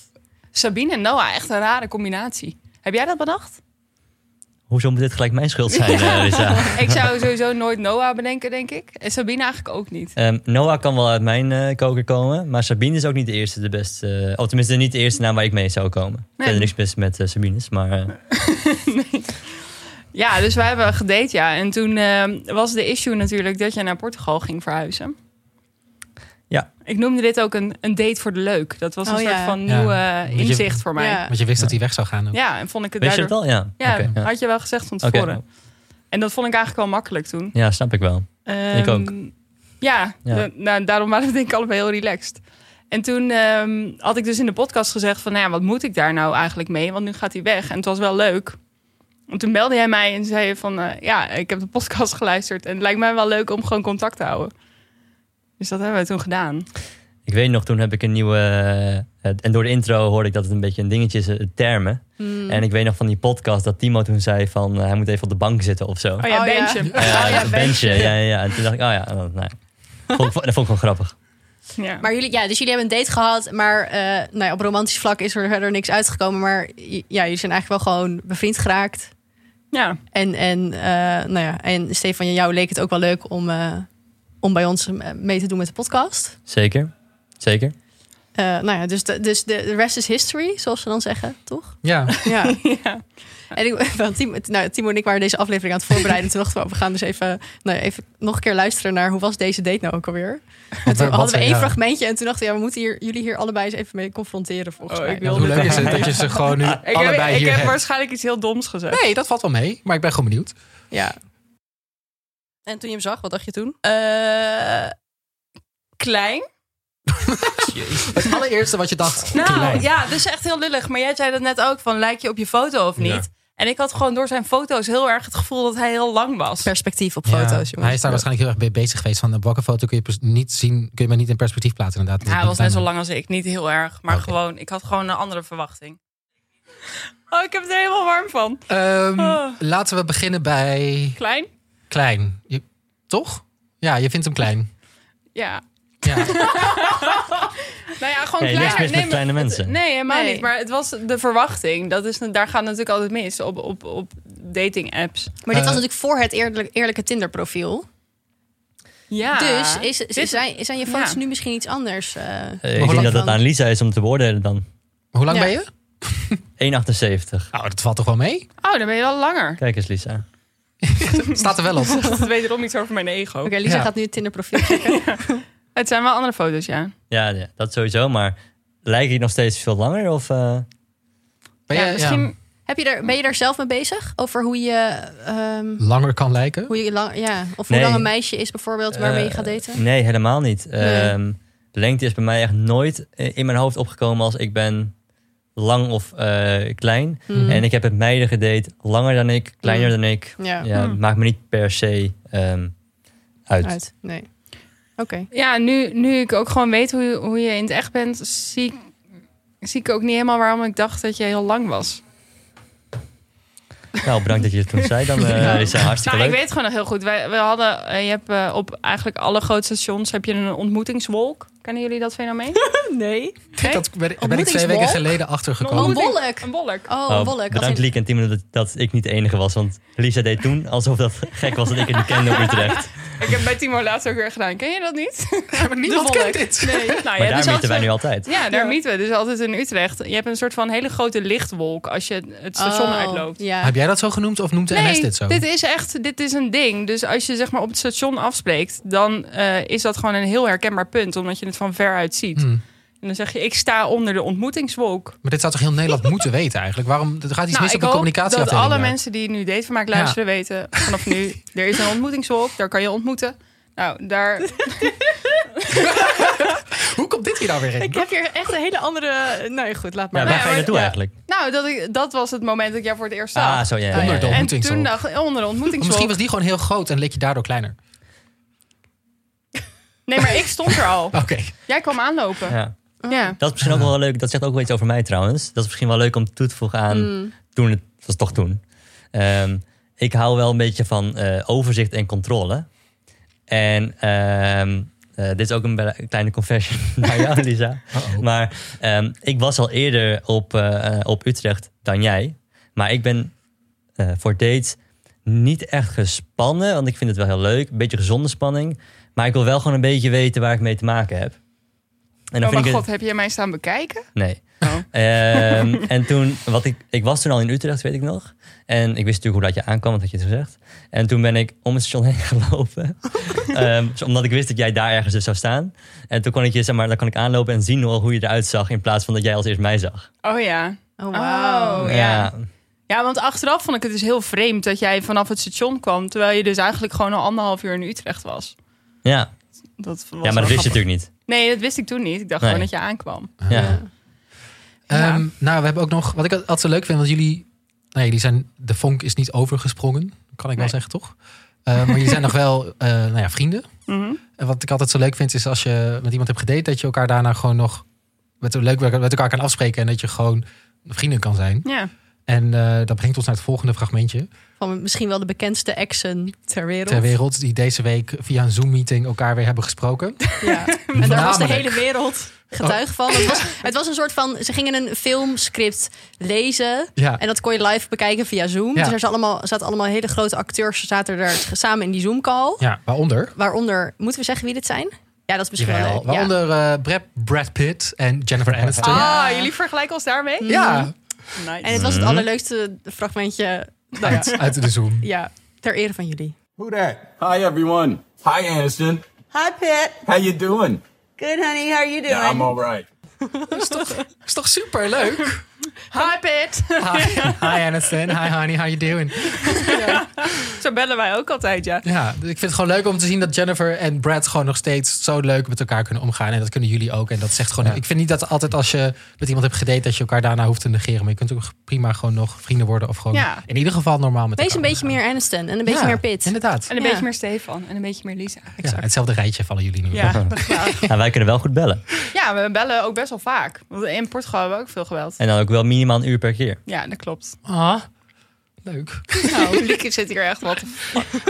C: Sabine en Noah, echt een rare combinatie. Heb jij dat bedacht?
B: Hoezo moet dit gelijk mijn schuld zijn, eh, Lisa?
C: Ik zou sowieso nooit Noah bedenken, denk ik. En Sabine eigenlijk ook niet.
B: Ehm, Noah kan wel uit mijn eh, koker komen, maar Sabine is ook niet de eerste, de beste. eh, of tenminste, niet de eerste naam waar ik mee zou komen. Ik heb niks mis met eh, Sabines, maar eh,
C: Ja, dus wij hebben gedate, ja. En toen eh, was de issue natuurlijk dat jij naar Portugal ging verhuizen.
B: Ja.
C: Ik noemde dit ook een, een date voor de leuk. Dat was een
D: Oh,
C: soort
D: ja.
C: van
A: Ja.
C: nieuw eh,
A: Beetje-
C: inzicht voor mij. Ja.
D: Ja.
A: Want je wist dat hij weg zou gaan. ook.
C: en vond ik het
B: weet je
C: daardoor...
B: het al? Ja,
C: Ja,
B: Oké, ja.
C: had je wel gezegd van
B: Oké.
C: tevoren. En dat vond ik eigenlijk wel makkelijk toen.
B: Ja, snap ik wel. Ik ook.
C: Ehm, Ja,
B: Ja.
C: da- nou, daarom waren we denk ik allebei heel relaxed. En toen ehm, had ik dus in de podcast gezegd van... Nou ja, wat moet ik daar nou eigenlijk mee? Want nu gaat hij weg. En het was wel leuk. En toen belde hij mij en zei van... eh, ja, ik heb de podcast [laughs] geluisterd. En het lijkt mij wel leuk om gewoon contact te houden. Dus dat hebben we toen gedaan.
B: Ik weet nog, toen heb ik een nieuwe... eh, het- en door de intro hoorde ik dat het een beetje een dingetje is, eh, termen.
D: Mm.
C: Hmm.
B: En ik weet nog van die podcast dat Timo toen zei van... eh, hij moet even op de bank zitten of zo.
C: Oh ja,
D: Oh ja.
C: Benjamin.
B: Eh,
C: Oh ja,
B: een benchje. Ja, ja, ja. En toen dacht ik, oh ja, oh, nee. Vond ik- dat vond ik wel grappig.
C: Ja.
D: Maar jullie, ja, dus jullie hebben een date gehad, maar eh, nou ja, op romantisch vlak is er verder niks uitgekomen. Maar j- ja, jullie zijn eigenlijk wel gewoon bevriend geraakt.
C: ja. [laughs]
D: En, en, eh, nou ja, en Stefan, en jou leek het ook wel leuk om, eh, om bij ons eh, mee te doen met de podcast.
B: Zeker. Zeker.
D: Eh, nou ja, dus, de, dus de, de rest is history, zoals ze dan zeggen, toch?
A: Ja.
D: [laughs] Ja.
C: Ja.
D: en ik, want Timo, nou, Timo en ik waren deze aflevering aan het voorbereiden. Toen dachten we, oh, we gaan dus even, nou, ja, even nog een keer luisteren naar hoe was deze date nou ook alweer. En
A: Want
D: toen
A: wat
D: hadden we
A: zijn-
D: één
A: ja.
D: fragmentje en toen dachten we, ja, we moeten hier, jullie hier allebei eens even mee confronteren volgens
C: Oh,
D: mij.
C: ik wil-
A: Hoe leuk is het dat je ze gewoon nu
C: Ik heb,
A: allebei
C: ik
A: hier
C: heb
A: hebt?
C: waarschijnlijk iets heel doms gezegd.
A: Nee, dat valt wel mee. Maar ik ben gewoon benieuwd.
D: Ja. En toen je hem zag, wat dacht je toen?
C: Eh, klein.
A: Het allereerste wat je dacht.
C: [laughs] Nou
A: klein.
C: ja, dus echt heel lullig. Maar jij zei dat net ook van lijk je op je foto of niet?
A: Ja.
C: En ik had gewoon door zijn foto's heel erg het gevoel dat hij heel lang was.
D: Perspectief op
A: Ja,
D: foto's, jongens.
A: hij is daar waarschijnlijk heel erg mee bezig geweest. Van op welke foto kun je pers- niet zien, kun je maar niet in perspectief plaatsen inderdaad.
C: Ja, hij was net zo
A: Bijna.
C: lang als ik, niet heel erg, maar
A: Oké.
C: gewoon ik had gewoon een andere verwachting. Oh, ik heb er helemaal warm van.
A: Ehm,
C: Oh.
A: Laten we beginnen bij
C: Klein?
A: klein. Je- toch? Ja, je vindt hem klein.
C: Ja. [laughs]
A: Ja.
C: Nou ja, gewoon
B: Nee, niks
C: kleiner.
B: mis met
C: maar-
B: kleine mensen.
C: Nee, helemaal
D: Nee.
C: niet. Maar het was de verwachting. Dat is, daar gaat natuurlijk altijd mis op, op, op dating apps.
D: Maar dit
A: Eh,
D: was natuurlijk voor het eerlijk, eerlijke Tinder-profiel.
C: Ja.
D: Dus is, is-
C: Dit-
D: zijn, zijn je foto's
C: ja.
D: nu misschien iets anders? eh?
B: Eh,
A: hoe
B: ik denk
A: lang
B: dat het
D: dan?
B: aan Lisa is om te beoordelen dan.
A: Hoe lang
D: Ja.
A: ben je?
B: 1,78.
A: Nou, dat valt toch wel
C: [laughs]
A: mee?
C: Oh, dan ben je wel langer.
B: Kijk eens, Lisa.
A: Staat er wel op.
C: [laughs] Dat is wederom iets over mijn ego.
D: Oké, Lisa
A: Ja.
D: gaat nu het Tinder-profiel checken.
C: Het zijn wel andere foto's, ja.
B: Ja, ja, dat sowieso. Maar lijk ik nog steeds veel langer? Of, eh,
A: Ben je,
C: ja, misschien,
D: Heb je daar, ben je daar zelf mee bezig? Over hoe je, ehm,
A: langer kan lijken?
D: hoe je lang, ja, of hoe
B: Nee.
D: lang een meisje is bijvoorbeeld waarmee je
B: eh,
D: gaat daten?
B: Nee, helemaal niet.
D: Nee.
B: Ehm, lengte is bij mij echt nooit eh, in mijn hoofd opgekomen als ik ben lang of eh, klein.
D: Hmm.
B: En ik heb het meiden gedate langer dan ik, kleiner dan ik.
D: ja,
B: Ja,
C: Hmm.
B: maakt me niet per se ehm, uit.
D: uit. Nee. Oké.
C: Ja, nu, nu ik ook gewoon weet hoe, je- hoe je in het echt bent, zie, ik- zie ik ook niet helemaal waarom ik dacht dat je heel lang was.
B: Nou, bedankt dat je het toen zei. Dan eh,
C: Ja.
B: is het hartstikke
C: Nou, ik
B: leuk.
C: weet gewoon nog heel goed. Wij, we hadden, eh, je hebt eh, op eigenlijk alle grote stations heb je een ontmoetingswolk. Kennen jullie dat
B: [laughs]
C: fenomeen?
D: Nee.
C: Nee?
A: Dat ben, ben ik twee weken
D: Ontmoetingswolk?
A: geleden achtergekomen.
D: Oh, een
C: Ontmoeting.
D: wolk.
C: Een wolk.
D: Oh,
B: Oh,
D: een wolk. Als
B: bedankt
D: in-
B: Liek en Timo dat, dat ik niet de enige was. Want Lisa deed toen alsof dat gek was dat ik het niet kende op Utrecht.
C: Ik heb bij Timo laatst ook weer gedaan. Ken je dat
B: [laughs]
C: niet?
A: maar niemand
C: De wolk.
A: kent dit.
D: [laughs]
C: Nee. [laughs] Nou, ja,
B: Maar daar
C: dus
B: meten wij
C: als we-
B: nu altijd.
C: Ja, daar mieten we. Dus altijd in Utrecht. Je hebt een soort van hele grote lichtwolk als je het station
D: Oh,
C: uitloopt.
D: Ja.
A: Heb jij dat zo genoemd of noemt de NS dit zo?
C: is echt, dit is een ding. Dus als je zeg maar op het station afspreekt, dan eh, is dat gewoon een heel herkenbaar punt, omdat je het van ver uit ziet.
A: Hmm.
C: En dan zeg je, ik sta onder de ontmoetingswolk.
A: Maar dit zou toch heel Nederland moeten weten eigenlijk? Waarom er gaat iets mis op
C: Nou, ik
A: de
C: hoop
A: communicatie?
C: dat alle mensen die nu datevermaak luisteren weten, vanaf nu, er is een ontmoetingswolk, daar kan je ontmoeten. Nou, daar...
A: Hoe komt dit hier nou weer in?
D: Ik heb hier echt een hele andere... Nee, goed, laat
B: Ja,
D: maar.
B: waar
C: ja,
B: ga je
C: maar-
B: naartoe
D: ja.
B: eigenlijk?
C: Nou, dat, ik, dat was het moment dat ik jou voor het eerst zag.
B: Ah, zo ja. ja, ja, ja.
A: Onderdom.
C: en toen
A: ontmoetingswolk.
C: dacht onder de
A: Of misschien
C: ontmoetingswolk.
A: was die gewoon heel groot en leek je daardoor kleiner.
C: Nee, maar ik stond er
A: [laughs]
C: al.
A: Oké.
C: Jij kwam aanlopen.
B: Ja.
C: Ja.
D: Hmm.
B: Dat is misschien ook wel leuk. Dat zegt ook wel iets over mij trouwens. Dat is misschien wel leuk om toe te voegen aan toen het was toch toen. Ehm, ik hou wel een beetje van eh, overzicht en controle. En ehm, eh, dit is ook een bele- kleine confession [laughs] naar jou, Lisa.
A: Uh-oh.
B: Maar ehm, ik was al eerder op, eh, eh, op Utrecht dan jij. Maar ik ben eh, voor dates niet echt gespannen. Want ik vind het wel heel leuk. Een beetje gezonde spanning. Maar ik wil wel gewoon een beetje weten waar ik mee te maken heb. En dan
C: Oh
B: vind
C: mijn
B: ik
C: god,
B: het...
C: heb jij mij staan bekijken?
B: Nee.
C: Oh. [laughs]
B: Ehm, en toen, wat ik, ik was toen al in Utrecht, weet ik nog. En ik wist natuurlijk hoe dat je aankwam, want had je het gezegd. En toen ben ik om het station [laughs] heen gelopen. Ehm, zo- omdat ik wist dat jij daar ergens dus zou staan. En toen kon ik je, zeg maar, dan kon ik aanlopen en zien hoe, hoe je eruit zag. In plaats van dat jij als eerst mij zag.
C: Oh ja.
D: Oh,
C: wauw. Oh, ja. Ja, want achteraf vond ik het dus heel vreemd dat jij vanaf het station kwam... terwijl je dus eigenlijk gewoon al anderhalf uur in Utrecht was.
B: ja.
C: Dat was
B: ja maar dat wist je natuurlijk
C: [laughs]
B: niet.
C: Nee, dat wist ik toen niet. Ik dacht
B: Nee.
C: gewoon dat je aankwam.
B: Ja.
C: Ja.
A: Ehm, nou, we hebben ook nog... Wat ik altijd zo leuk vind, want jullie... Nee, jullie zijn... De vonk is niet overgesprongen. Kan ik wel
C: Nee.
A: zeggen, toch? Eh, maar jullie zijn nog wel eh, nou ja, vrienden.
C: Mhm.
A: En wat ik altijd zo leuk vind, is als je met iemand hebt gedate... dat je elkaar daarna gewoon nog met, leuk met elkaar kan afspreken... en dat je gewoon vrienden kan zijn.
C: Ja.
A: En eh, dat brengt ons naar het volgende fragmentje.
D: Van misschien wel de bekendste exen ter wereld.
A: Ter wereld, die deze week via een Zoom-meeting elkaar weer hebben gesproken.
D: Ja. [laughs] En daar was de
A: Namelijk.
D: hele wereld getuige van. Het was, het was een soort van, ze gingen een filmscript lezen.
A: Ja,
D: En dat kon je live bekijken via Zoom.
A: Ja.
D: Dus er zaten allemaal, zaten allemaal hele grote acteurs zaten er samen in die Zoom-call.
A: ja waaronder...
D: Waaronder, moeten we zeggen wie dit zijn? Ja, dat is misschien wel
A: Jawel,
D: leuk. Ja.
A: waaronder eh, Brad, Brad Pitt en Jennifer Aniston.
C: Ah, jullie vergelijken ons daarmee?
A: Ja,
C: Nice.
D: En het was het
B: Mhm.
D: allerleukste fragmentje nou ja,
A: uit, uit de Zoom.
D: ja, ter ere van jullie.
F: Who that? Hi, everyone. Hi, Aniston.
G: Hi, Pitt.
F: How you doing?
G: Good, honey. How are you doing?
F: Yeah, I'm all right.
A: is toch super leuk?
C: Hi, Pit.
A: [laughs]
C: [laughs]
A: Hi, hi Aniston, hi honey, how you doing?
C: Zo bellen wij ook altijd, ja.
A: Ja, dus ik vind het gewoon leuk om te zien dat Jennifer en Brad gewoon nog steeds zo leuk met elkaar kunnen omgaan. En dat kunnen jullie ook. En dat zegt gewoon. Ik vind niet dat altijd als je met iemand hebt gedate dat je elkaar daarna hoeft te negeren. Maar je kunt ook prima gewoon nog vrienden worden of gewoon
C: Ja.
A: in ieder geval normaal met
D: Wees een
A: elkaar
D: beetje
A: omgaan.
D: meer Aniston en een beetje
A: Ja,
D: meer Pitt.
A: Inderdaad.
C: En een
D: Ja.
C: beetje meer Stefan en een beetje meer Lisa.
A: Ja, hetzelfde rijtje vallen jullie nu.
B: [laughs]
C: Ja,
B: En Nou, wij kunnen wel goed bellen.
C: ja, we bellen ook best wel vaak. Want in Portugal hebben we ook veel gebeld.
B: En dan ook wel minimaal een uur per keer.
C: Ja, dat klopt.
A: Ah, leuk.
C: Nou, Lieke zit hier echt [laughs] wat.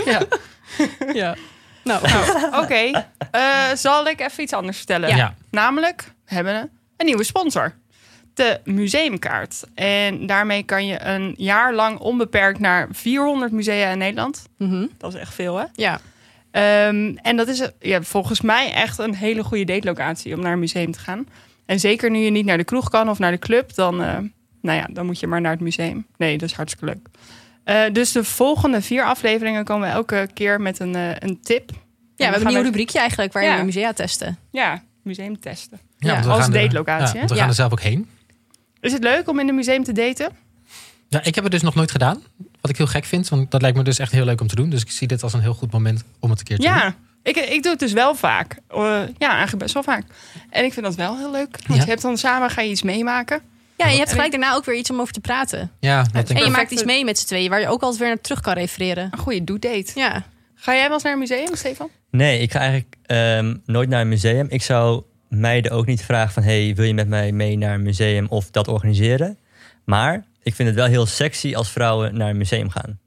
A: Ja.
D: Ja. Nou,
C: Oké, eh, zal ik even iets anders vertellen?
A: Ja. Ja.
C: Namelijk, we hebben een nieuwe sponsor. De museumkaart. En daarmee kan je een jaar lang onbeperkt naar 400 musea in Nederland.
D: mhm.
C: Dat is echt veel, hè?
D: ja.
C: Ehm, en dat is ja, volgens mij echt een hele goede datelocatie om naar een museum te gaan. En zeker nu je niet naar de kroeg kan of naar de club, dan, eh, nou ja, dan moet je maar naar het museum. Nee, dat is hartstikke leuk. Eh, dus de volgende vier afleveringen komen we elke keer met een, eh, een tip.
D: ja, we hebben een nieuw
C: gaan
D: rubriekje eigenlijk waarin
C: Ja.
D: we musea testen.
C: Ja, museum testen.
D: Ja,
A: want we
C: als
A: gaan er- ja,
C: datelocatie,
A: want we
D: hè?
A: gaan er
D: Ja.
A: zelf ook heen.
C: Is het leuk om in een museum te daten?
A: Ja, ik heb het dus nog nooit gedaan. Wat ik heel gek vind, want dat lijkt me dus echt heel leuk om te doen. Dus ik zie dit als een heel goed moment om het een keer te doen.
C: Ja, ik, ik doe het dus wel vaak. Eh, ja, eigenlijk best wel vaak. En ik vind dat wel heel leuk. Want
A: Ja.
C: je hebt dan samen ga je iets meemaken.
D: Ja, en je hebt gelijk daarna ook weer iets om over te praten.
A: Ja, dat denk
D: En
A: ik.
D: je
C: perfecte-
D: maakt iets mee met z'n tweeën waar je ook altijd weer naar terug kan refereren.
C: Een goede do-date.
D: Ja.
C: Ga jij wel eens naar een museum, Stefan?
B: Nee, ik ga eigenlijk ehm, nooit naar een museum. Ik zou meiden ook niet vragen van... hey, wil je met mij mee naar een museum of dat organiseren? Maar ik vind het wel heel sexy als vrouwen naar een museum gaan.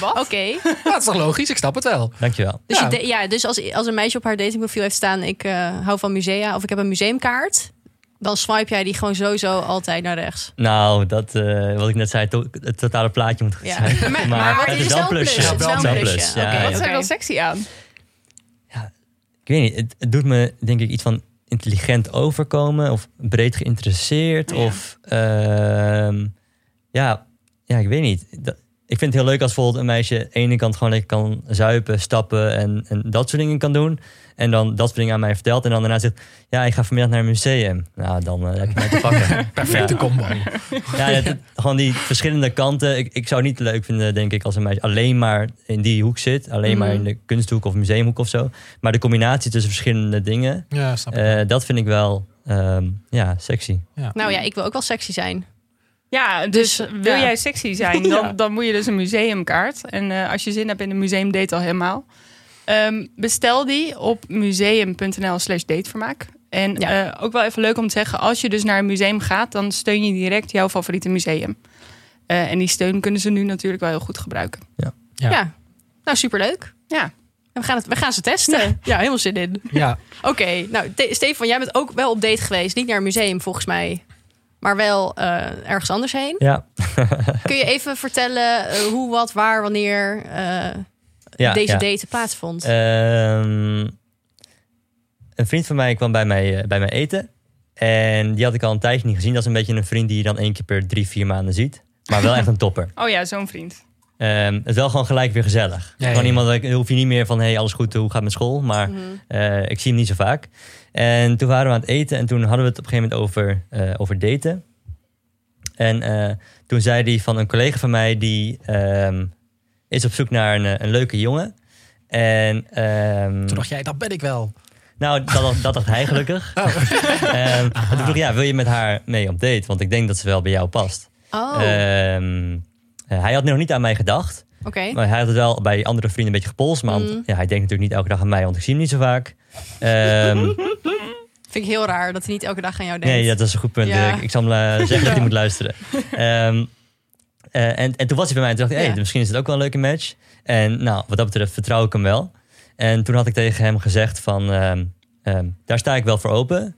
C: wat?
D: Oké.
A: Ja, dat is toch logisch? Ik snap het wel.
B: Dankjewel.
D: Dus,
A: Ja.
D: je de- ja, dus als, als een meisje op haar datingprofiel heeft staan... ik eh, hou van musea of ik heb een museumkaart... dan swipe jij die gewoon sowieso altijd naar rechts.
B: Nou, dat, eh, wat ik net zei, to- het totale plaatje moet goed
D: Ja.
B: zijn. Maar,
C: Maar- maar
B: het
C: het
B: is wel een plusje.
D: Het is wel
A: Het is wel
D: een
A: een
D: plusje.
B: Ja,
D: Oké,
B: ja.
C: Wat is
D: oké.
C: er dan sexy aan?
B: Ik weet niet, het, het doet me denk ik iets van intelligent overkomen of breed geïnteresseerd. Of ehm, ja, ja, ik weet niet. Dat- ik vind het heel leuk als bijvoorbeeld een meisje aan de ene kant gewoon lekker kan zuipen, stappen en, en dat soort dingen kan doen. En dan dat soort dingen aan mij vertelt. En dan daarna zegt, ja, ik ga vanmiddag naar een museum. Nou, dan eh, heb
A: [laughs]
B: je mij te pakken.
A: Perfecte
B: Ja.
A: combo.
B: Ja, het- het- gewoon die verschillende kanten. Ik, ik zou het niet leuk vinden, denk ik, als een meisje alleen maar in die hoek zit. Alleen maar in de kunsthoek of museumhoek of zo. Maar de combinatie tussen verschillende dingen,
A: Ja, snap ik.
B: eh, dat vind ik wel ehm, ja, sexy.
D: Nou ja, ik wil ook wel sexy zijn.
C: Ja, dus
D: Dus,
C: wil
D: ja.
C: jij sexy zijn, dan, dan moet je dus een museumkaart. En eh, als je zin hebt in een museumdate al helemaal. Ehm, bestel die op museum.nl slash datevermaak.
E: En
D: Ja.
E: eh, ook wel even leuk om te zeggen, als je dus naar een museum gaat, dan steun je direct jouw favoriete museum. Eh, en die steun kunnen ze nu natuurlijk wel heel goed gebruiken.
D: Ja.
A: Ja.
D: Nou, superleuk.
E: Ja.
D: En we gaan, het, we gaan ze testen. Ja, helemaal zin in.
A: Ja,
D: Oké, nou, Te- Stefan, jij bent ook wel op date geweest. Niet naar een museum, volgens mij. Maar wel eh, ergens anders heen.
B: Ja.
D: Kun je even vertellen eh, hoe, wat, waar, wanneer eh,
B: ja
D: deze
B: ja. Eh,
D: date plaatsvond?
B: Ehm, een vriend van mij kwam bij mij, eh, bij mij eten. En die had ik al een tijdje niet gezien. Dat is een beetje een vriend die je dan één keer per drie, vier maanden ziet. Maar wel echt een topper.
E: Oh ja, zo'n vriend.
B: Ehm, het is wel gewoon gelijk weer gezellig.
A: Ja,
B: gewoon
A: ja, ja.
B: iemand, dat ik- hoef je niet meer van, hey, alles goed, hoe gaat het met school? Maar eh, ik zie hem niet zo vaak. En toen waren we aan het eten en toen hadden we het op een gegeven moment over, eh, over daten. En eh, toen zei hij van een collega van mij, die ehm, is op zoek naar een, eh, een leuke jongen. En ehm,
A: toen dacht jij, dat ben ik wel.
B: nou, dat, dacht- dat dacht
A: [laughs]
B: hij gelukkig.
A: Oh.
B: Ehm,
A: Ah.
B: en toen vroeg ik, ja, wil je met haar mee op date? Want ik denk dat ze wel bij jou past.
D: oh,
B: Ehm, eh, hij had nog niet aan mij gedacht.
D: oké.
B: Maar hij had het wel bij andere vrienden een beetje gepolst. Maar want- ja, hij denkt natuurlijk niet elke dag aan mij, want ik zie hem niet zo vaak. Ehm,
D: Vind ik heel raar dat hij niet elke dag aan jou denkt.
B: nee, dat is een goed punt.
D: Ja.
B: Ik, ik zal hem eh, zeggen dat hij moet luisteren. Ehm, eh, en, en toen was hij bij mij en toen dacht ik, hey,
D: Ja.
B: misschien is het ook wel een leuke match. En nou, wat dat betreft vertrouw ik hem wel. En toen had ik tegen hem gezegd van, ehm, ehm, daar sta ik wel voor open.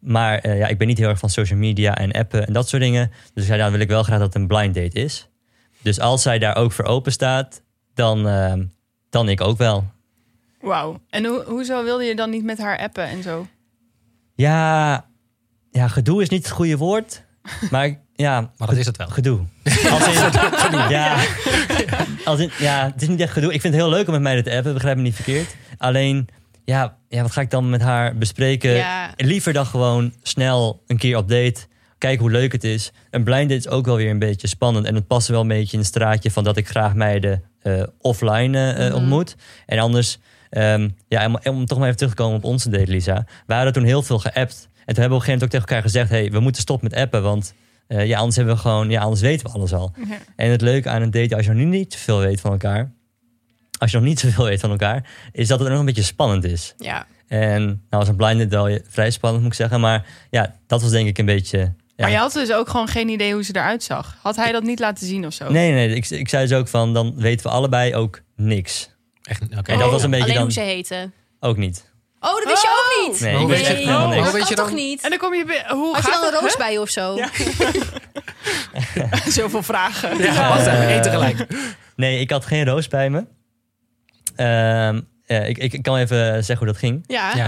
B: Maar eh, ja, ik ben niet heel erg van social media en appen en dat soort dingen. Dus ik zei, dan wil ik wel graag dat het een blind date is. Dus als zij daar ook voor open staat, dan, ehm, dan ik ook wel.
E: Wauw. En hoe hoezo wilde je dan niet met haar appen en zo?
B: Ja, ja gedoe is niet het goede woord. Maar ik- ja,
A: Maar dat is het wel.
B: gedoe. Als in, Ja, als in, ja, het is niet echt gedoe. Ik vind het heel leuk om met mij te appen, begrijp me niet verkeerd. Alleen, ja, ja wat ga ik dan met haar bespreken?
D: Ja.
B: Liever dan gewoon snel een keer op date. Kijken hoe leuk het is. Een blind date is ook wel weer een beetje spannend. En het past wel een beetje in het straatje van dat ik graag meiden eh, offline eh, eh, ontmoet. En anders, ehm, ja, om, om toch maar even terug te komen op onze date, Lisa. We hadden toen heel veel geappt. En toen hebben we op een gegeven moment ook tegen elkaar gezegd... hey, we moeten stoppen met appen, want eh, ja, anders hebben we gewoon, ja, anders weten we alles al.
E: Ja.
B: En het leuke aan een date, als je nog niet- niet veel weet van elkaar, als je nog niet zoveel weet van elkaar, is dat het nog een beetje spannend is.
D: Ja.
B: En nou was een blind date wel je- vrij spannend, moet ik zeggen. Maar ja, dat was denk ik een beetje. ja.
E: Maar je had dus ook gewoon geen idee hoe ze eruit zag. Had hij dat niet laten zien of zo?
B: Nee, nee, ik, ik zei dus ook van, dan weten we allebei ook niks.
A: Echt, oké.
B: En dat was een beetje
D: Alleen
B: dan-
D: hoe ze heten.
B: Ook niet.
D: Oh, dat wist je ook niet? Oh,
B: Nee,
A: Hoe
B: ik
A: weet
B: wist
A: je-
B: echt helemaal
A: hoe
B: niks.
D: dat
A: weet
D: kan
A: je
D: toch
A: dan-
D: niet?
E: En dan kom je bij... Hoe
D: Had je
E: gaat
D: dan een
E: het?
D: roos bij je of zo?
E: Huh? Zoveel vragen.
A: Ja, wacht even, één tegelijk.
B: Nee, ik had geen roos bij me. Ehm, eh, ik, ik, ik kan even zeggen hoe dat ging.
D: Ja.
E: [laughs]
A: Ja.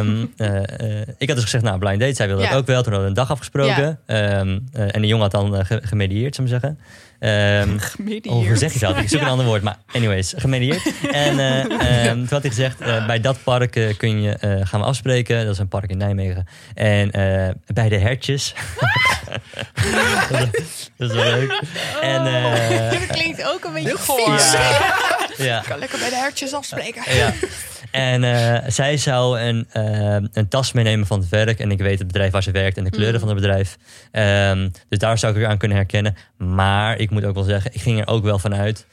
B: Ehm, eh, eh, ik had dus gezegd, nou, blind date. Zij wilde
D: Ja.
B: dat ook wel. Toen hadden we een dag afgesproken. Ehm, eh, en de jongen had dan eh, ge- gemedieerd, zou ik maar zeggen. Ehm,
E: Midden
B: Oh,
E: hier.
B: hoe zeg je dat? Ik zoek een ander woord. Maar anyways, gemedieerd. En eh, ehm, toen had hij gezegd, eh, bij dat park eh, kun je, eh, gaan we afspreken. Dat is een park in Nijmegen. En eh, bij de hertjes. [laughs] dat is wel leuk. En eh,
E: Dat klinkt ook een beetje
D: Oh,
E: goor.
B: ja, ja,
E: Lekker bij de hertjes afspreken.
D: [laughs]
B: ja. En eh, zij zou een, ehm, een tas meenemen van het werk. En ik weet het bedrijf waar ze werkt en de
D: Mm.
B: kleuren van het bedrijf. Ehm, dus daar zou ik haar aan kunnen herkennen. Maar ik moet ook wel zeggen, ik ging er ook wel vanuit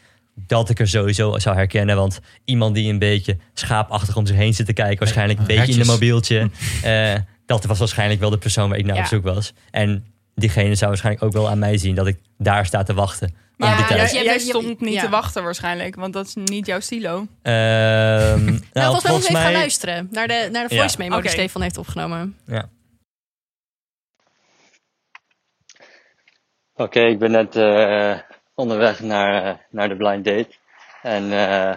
B: dat ik er sowieso zou herkennen. Want iemand die een beetje schaapachtig om zich heen zit te kijken, waarschijnlijk een beetje in
A: Hertjes.
B: een
D: [laughs]
B: mobieltje. eh, dat was waarschijnlijk wel de persoon waar ik naar
D: Ja.
B: op zoek was. En diegene zou waarschijnlijk ook wel aan mij zien dat ik daar sta te wachten.
D: Maar
B: aan die
D: ja,
B: tijd.
D: dus
E: jij,
D: jij
E: jij
D: bent-
E: stond niet
D: ja.
E: te wachten waarschijnlijk, want dat is niet jouw stilo.
B: Ehm, nou,
D: [laughs] Nou, volgens mij moeten we even gaan luisteren naar de, naar de
B: Ja.
D: voice memo die
E: Oké.
D: Stefan heeft opgenomen.
B: Ja.
H: Oké, ik ben net eh, onderweg naar, eh, naar de blind date. En eh,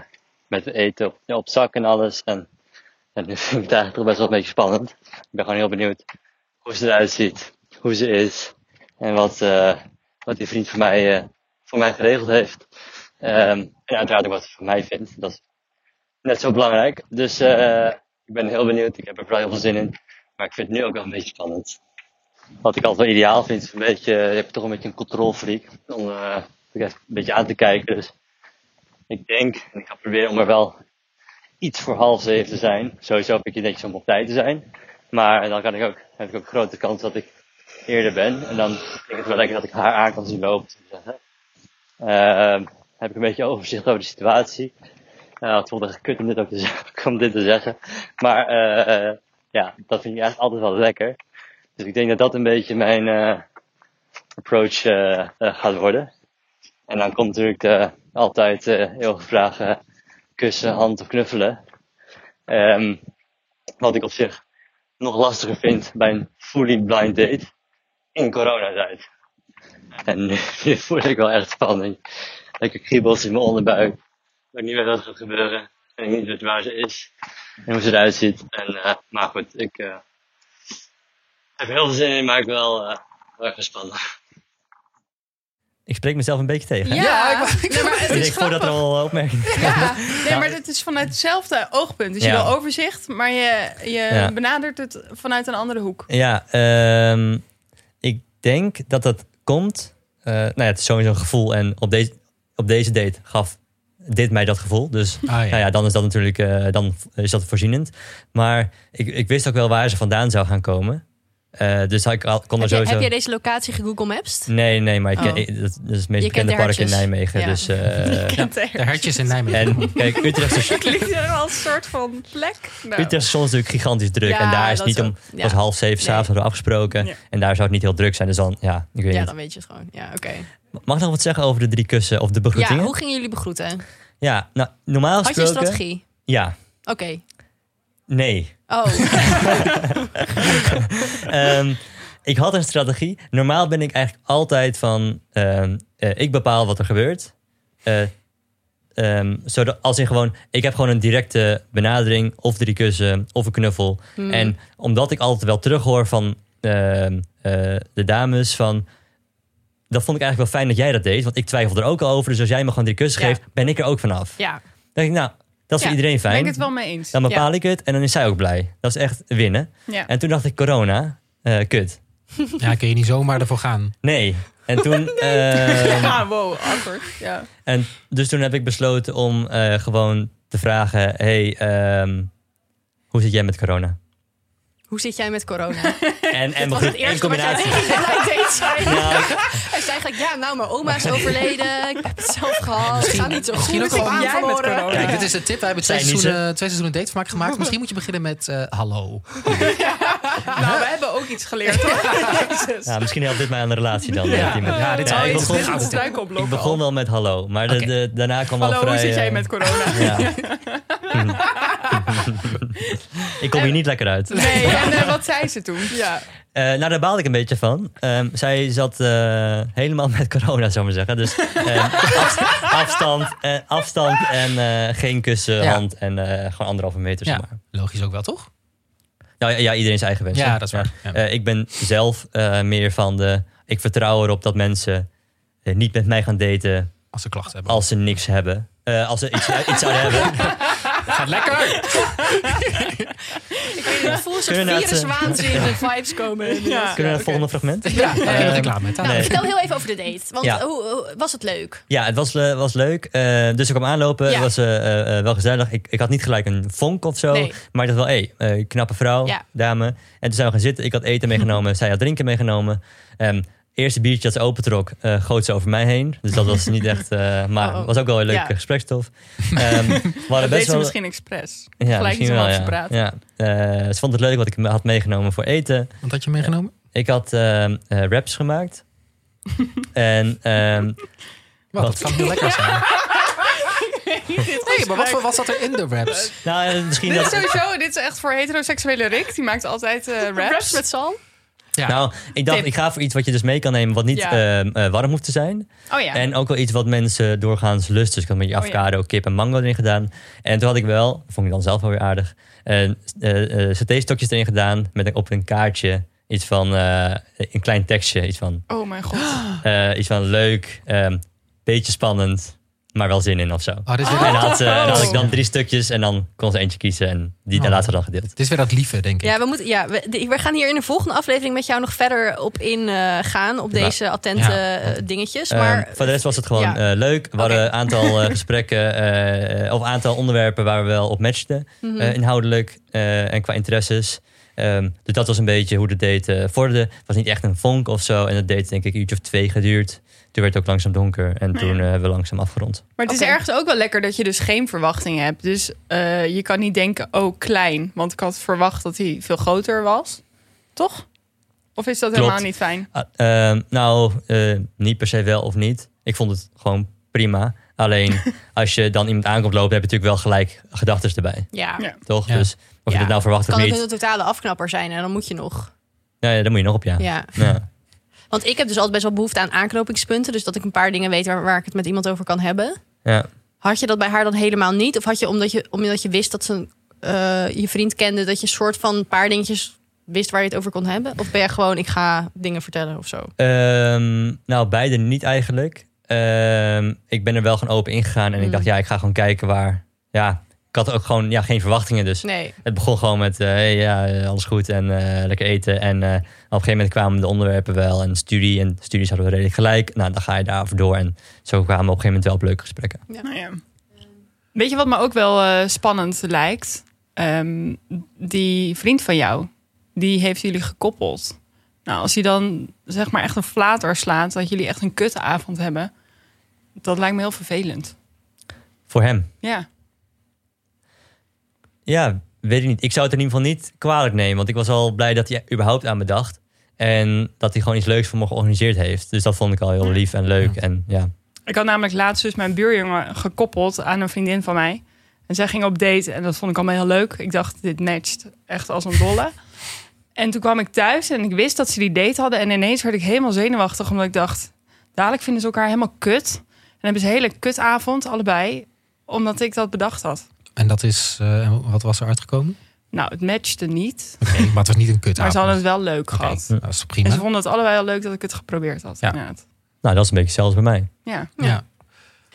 H: met eten op, op zak en alles. En, en nu [laughs] vind ik het eigenlijk toch best wel een beetje spannend. Ik ben gewoon heel benieuwd hoe ze eruit ziet, hoe ze is. En wat, eh, wat die vriend van mij, eh, voor mij geregeld heeft. Ehm, en uiteraard ook wat ze van mij vindt. Dat is net zo belangrijk. Dus eh, ik ben heel benieuwd. Ik heb er vrij heel veel zin in. Maar ik vind het nu ook wel een beetje spannend wat ik altijd wel ideaal vind, is een beetje, je hebt toch een beetje een controlfreak om eh, ik even een beetje aan te kijken. Dus ik denk, en ik ga proberen om er wel iets voor half zeven te zijn. Sowieso heb ik het netjes om op tijd te zijn. Maar dan kan ik ook, heb ik ook grote kans dat ik eerder ben. En dan vind ik het wel lekker dat ik haar aan kan zien lopen. zou ik zeggen. Ehm, heb ik een beetje overzicht over de [laughs] situatie. Nou, het voelt echt kut om dit, ook te zeggen, om dit te zeggen. Maar eh, eh, ja, dat vind ik echt altijd wel lekker. Dus ik denk dat dat een beetje mijn eh, approach eh, eh, gaat worden. En dan komt natuurlijk de, altijd eh heel gevraagd eh, kussen, hand of knuffelen. Ehm, wat ik op zich nog lastiger vind bij een fully blind date in coronatijd. En nu, [laughs] nu voel ik wel echt spanning. Lekker kriebels in mijn onderbuik. Ik weet niet meer wat er gaat gebeuren. Ik weet niet wat waar ze is. En hoe ze eruit ziet. En, eh, maar goed, ik eh, heb er heel veel zin in, maar ik ben wel eh, heel erg gespannen.
B: Ik spreek mezelf een beetje tegen. hè?
C: Ja,
B: [laughs]
C: nee, maar het
B: Ik
C: is
B: denk voordat er
C: grappig.
B: al opmerkingen
C: Ja. Nee, maar het is vanuit hetzelfde oogpunt. Dus je
B: Ja.
C: wil overzicht, maar je, je
B: Ja.
C: benadert het vanuit een andere hoek.
B: [laughs] Ja, ehm, ik denk dat dat komt. eh, nou ja, het is sowieso een gevoel. En op deze, op deze date gaf dit mij dat gevoel. Dus
A: ja.
B: Nou ja, dan is dat natuurlijk eh, dan is dat voorzienend. Maar ik, ik wist ook wel waar ze vandaan zou gaan komen. Eh, dus ik al- kon er
D: Heb, je,
B: sowieso...
D: heb jij deze locatie gegoogle maps?
B: Nee, nee, maar ik ken-
D: Oh.
B: ik- dat, dat is het meest
D: Je kent
B: bekende
D: de
B: park in
D: hertjes.
B: Nijmegen.
D: Ja. [laughs]
B: Dus, eh,
E: [laughs]
A: De hertjes in Nijmegen.
B: en kijk, Utrecht is,
C: Klinkt er als een soort van plek. Nou.
B: Utrecht is soms natuurlijk gigantisch druk.
D: Ja,
B: en daar is het
D: dat
B: niet
D: is
B: om...
D: ook-
B: Het
D: ja.
B: was half zeven
D: Nee.
B: s'avonds hadden we afgesproken.
E: Ja.
B: En daar zou het niet heel druk zijn. Dus dan, ja, ik weet
D: Ja,
B: niet.
D: dan weet je het gewoon. Ja, oké.
B: Mag ik nog wat zeggen over de drie kussen of de
D: Ja,
B: begroetingen?
D: hoe gingen jullie begroeten?
B: Ja, nou, normaal
D: Had je een
B: gesproken...
D: strategie?
B: Ja,
D: Oké.
B: nee.
D: Oh, [laughs]
B: Ehm, ik had een strategie. Normaal ben ik eigenlijk altijd van... ehm, eh, ik bepaal wat er gebeurt. Eh, ehm, zodat, als in gewoon... Ik heb gewoon een directe benadering. Of drie kussen, of een knuffel.
C: Hmm.
B: En omdat ik altijd wel terughoor van ehm, eh, de dames van... Dat vond ik eigenlijk wel fijn dat jij dat deed. Want ik twijfelde er ook al over. Dus als jij me gewoon drie kussen
D: Ja.
B: geeft, ben ik er ook vanaf.
D: ja.
B: Dan denk ik, nou, dat is
D: Ja,
B: voor iedereen
C: ben
B: fijn.
C: ik het wel mee eens.
B: Dan bepaal ik het en dan is zij ook blij. Dat is echt winnen.
C: Ja.
B: En toen dacht ik, corona, eh, kut.
A: Ja, kun je niet zomaar ervoor gaan.
B: Nee. En toen, ehm,
C: Ah, wow, awkward. Ja.
B: en dus toen heb ik besloten om eh, gewoon te vragen: hey, ehm, hoe zit jij met corona?
D: Hoe zit jij met corona?
B: En, en
D: Dat was het
B: in
D: eerste wat jij [laughs]
B: combinatie.
D: tegen mij deed zei.
B: Nou,
D: Hij zei eigenlijk, ja, nou, mijn oma is overleden. Ik heb het zelf gehad. Het gaat niet zo goed.
A: misschien
D: Ik
A: ook
D: heb
A: wel-
D: aan
E: Jij met
D: verloren.
E: corona.
A: Kijk, dit is de tip. We hebben twee
B: Oh, Zijn niet Oh.
A: seizoenen, twee seizoenen date van gemaakt. Misschien moet je beginnen met eh, hallo.
C: Nou, we hebben ook iets geleerd. Hoor. Jezus.
B: nou, misschien helpt dit mij aan de relatie dan. eh, Timo.
A: ja, dit is wel
B: ik,
A: iets-
B: begon,
A: dit is een
B: ik
C: struikelblok
B: begon wel met hallo, maar de-
A: Oké.
B: de- daarna kwam
C: Hallo,
B: al vrij...
C: hoe zit jij
B: eh,
C: met corona?
B: [laughs] ja. ik kom hier niet lekker uit.
C: Nee, en eh, wat zei ze toen? Ja.
B: Eh, nou, daar baalde ik een beetje van. Ehm, zij zat eh, helemaal met corona, zou ik maar zeggen. Dus ehm, af- afstand, eh, afstand en eh, geen kussen,
A: Ja.
B: hand en eh, gewoon anderhalve meter.
A: Ja,
B: Zeg maar.
A: logisch ook wel, toch?
B: Nou ja, ja, iedereen zijn eigen wens.
A: Ja,
B: hè?
A: dat is waar. Ja.
B: Eh, ik ben zelf eh, meer van de... Ik vertrouw erop dat mensen eh, niet met mij gaan daten
A: Als ze klachten hebben.
B: als ze niks hebben. Eh, als ze iets, iets zouden
A: [laughs]
B: hebben.
A: Gaat lekker!
D: Ik weet niet, ik voel een soort
B: Kunnen we naar het, eh,
D: viruswaanzin vibes komen.
C: Ja.
B: Kunnen we naar het volgende fragment?
A: Ja, daar ben ik klaar met. hè?
B: Ehm, Nee.
D: Nou, Vertel heel even over de date. Want
B: Ja.
D: eh, hoe, hoe- was het leuk?
B: Ja, het was, eh, was leuk. Eh, dus ik kwam aanlopen.
D: Ja.
B: Het was eh, eh, eh, wel gezellig. Ik, ik had niet gelijk een vonk of zo.
D: Nee.
B: Maar ik dacht wel, hé, eh, knappe vrouw,
D: Ja.
B: dame. En toen zijn we gaan zitten. Ik had eten
C: [laughs]
B: meegenomen. zij had drinken meegenomen. Ehm eerste biertje dat ze opentrok, eh goot ze over mij heen. Dus dat was niet echt... eh,
C: [laughs]
B: maar
D: Oh,
B: het
D: oh.
B: was ook wel een leuke
C: Ja. [laughs]
B: gesprekstof. Ehm, we hadden
C: Dat deed
B: best
C: ze
B: wel...
C: misschien expres.
B: Ja,
C: Gelijk iets om
B: wel,
C: over
B: ja.
C: te praten.
B: Ja. Eh, ze vond het leuk wat ik me had meegenomen voor eten.
A: Want had je meegenomen?
B: Ik had ehm, eh, wraps
C: [laughs]
B: gemaakt. en ehm,
A: Wat, dat kan heel lekker zijn. Nee, maar wat, voor- wat zat er in de wraps?
B: nou, eh, misschien
C: Dit is
B: dat...
C: sowieso, dit is echt voor heteroseksuele Rick. Die maakt altijd eh, raps.
D: met Sal?
A: Ja.
B: Nou, ik dacht,
C: Tip.
B: ik ga voor iets wat je dus mee kan nemen, wat niet
C: Ja.
B: ehm, eh, warm hoeft te zijn.
C: Oh ja.
B: En ook wel iets wat mensen doorgaans lusten. Dus ik had met je
C: Oh ja.
B: avocado, kip en mango erin gedaan. En toen had ik wel, vond ik dan zelf wel weer aardig, eh eh, eh, saté-stokjes erin gedaan met een, op een kaartje. Iets van eh, een klein tekstje. Iets van,
C: Oh mijn god.
B: eh, iets van leuk, ehm, beetje spannend, maar wel zin in of zo.
A: Oh, dit, is weer,
B: En dan had, ze- dan had ik dan
A: Oh.
B: drie stukjes en dan kon ze eentje kiezen. En die
A: Oh.
B: later dan gedeeld.
A: dit is weer dat lieve, denk ik.
D: Ja, we, moeten, ja we, de- we gaan hier in de volgende aflevering met jou nog verder op ingaan. gaan op
B: Nou, Ja.
D: deze attente
A: Ja.
D: eh, dingetjes.
B: Ehm,
D: Maar
B: voor de rest was het gewoon
D: ja.
B: eh, leuk. We hadden een aantal
D: [laughs]
B: eh, gesprekken
D: Mhm.
B: eh, eh, of een aantal onderwerpen waar we wel op matchten. eh, inhoudelijk eh, en qua interesses. Ehm, dus dat was een beetje hoe de date eh, vorderde. Het was niet echt een vonk of zo. En dat deed denk ik een uurtje of twee geduurd. Toen werd het ook langzaam donker.
D: Ah,
B: En toen eh, hebben we langzaam afgerond.
C: Maar het
D: Oké.
C: is ergens ook wel lekker dat je dus geen verwachtingen hebt. Dus eh, je kan niet denken, oh klein. Want ik had verwacht dat hij veel groter was. Toch? Of is dat
B: Klopt.
C: helemaal niet fijn?
B: Ah, ehm, nou, eh, niet per se wel of niet. Ik vond het gewoon prima.
D: [laughs]
B: Alleen als je dan iemand aankomt lopen, heb je natuurlijk wel gelijk gedachten erbij.
D: Ja.
C: Ja.
B: Toch?
A: Ja.
B: Dus of
D: Ja.
B: je het nou verwacht of
D: Kan het
B: niet,
D: een totale afknapper zijn en dan moet je nog.
B: nou ja, daar moet je nog op ja.
D: Ja.
B: Ja.
D: Want ik heb dus altijd best wel behoefte aan aanknopingspunten. Dus dat ik een paar dingen weet waar, waar ik het met iemand over kan hebben.
B: Ja.
D: Had je dat bij haar dan helemaal niet? Of had je omdat je, omdat je wist dat ze eh, je vriend kende, dat je een soort van een paar dingetjes wist waar je het over kon hebben? Of ben je gewoon, ik ga dingen vertellen of zo?
B: Ehm, nou, beide niet eigenlijk. Ehm, ik ben er wel gewoon open ingegaan en ik
D: Mm.
B: dacht, ja, ik ga gewoon kijken waar. Ja, ik had ook gewoon ja, geen verwachtingen dus.
D: Nee.
B: Het begon gewoon met, eh, hey, ja, eh, alles goed en eh, lekker eten. En eh, op een gegeven moment kwamen de onderwerpen wel en studie. En studies hadden we redelijk gelijk. Nou, dan ga je daarover door. En zo kwamen we op een gegeven moment wel op leuke gesprekken.
C: Nou ja. Weet je wat me ook wel eh, spannend lijkt? Ehm, die vriend van jou, die heeft jullie gekoppeld. Nou, als hij dan zeg maar echt een flater slaat, dat jullie echt een kutavond hebben, dat lijkt me heel vervelend.
B: Voor hem.
C: Ja,
B: Ja, weet ik niet. Ik zou het in ieder geval niet kwalijk nemen. Want ik was al blij dat hij überhaupt aan me dacht. En dat hij gewoon iets leuks voor me georganiseerd heeft. Dus dat vond ik al heel lief en leuk. En ja,
C: ik had namelijk laatst dus mijn buurjongen gekoppeld aan een vriendin van mij. En zij ging op date en dat vond ik allemaal heel leuk. Ik dacht, dit matcht echt als een dolle. En toen kwam ik thuis en ik wist dat ze die date hadden. En ineens werd ik helemaal zenuwachtig, omdat ik dacht... dadelijk vinden ze elkaar helemaal kut. En hebben ze een hele kutavond, allebei. Omdat ik dat bedacht had.
A: En dat is, eh, en wat was er uitgekomen?
C: Nou, het matchte niet.
A: Oké, maar het was niet een kut nou,
C: Maar ze hadden het wel leuk gehad.
A: Dat is toch prima.
C: En ze vonden het allebei heel leuk dat ik het geprobeerd had.
A: Ja.
C: Ja.
B: nou dat is een beetje zelfs bij mij.
C: ja.
A: Ja.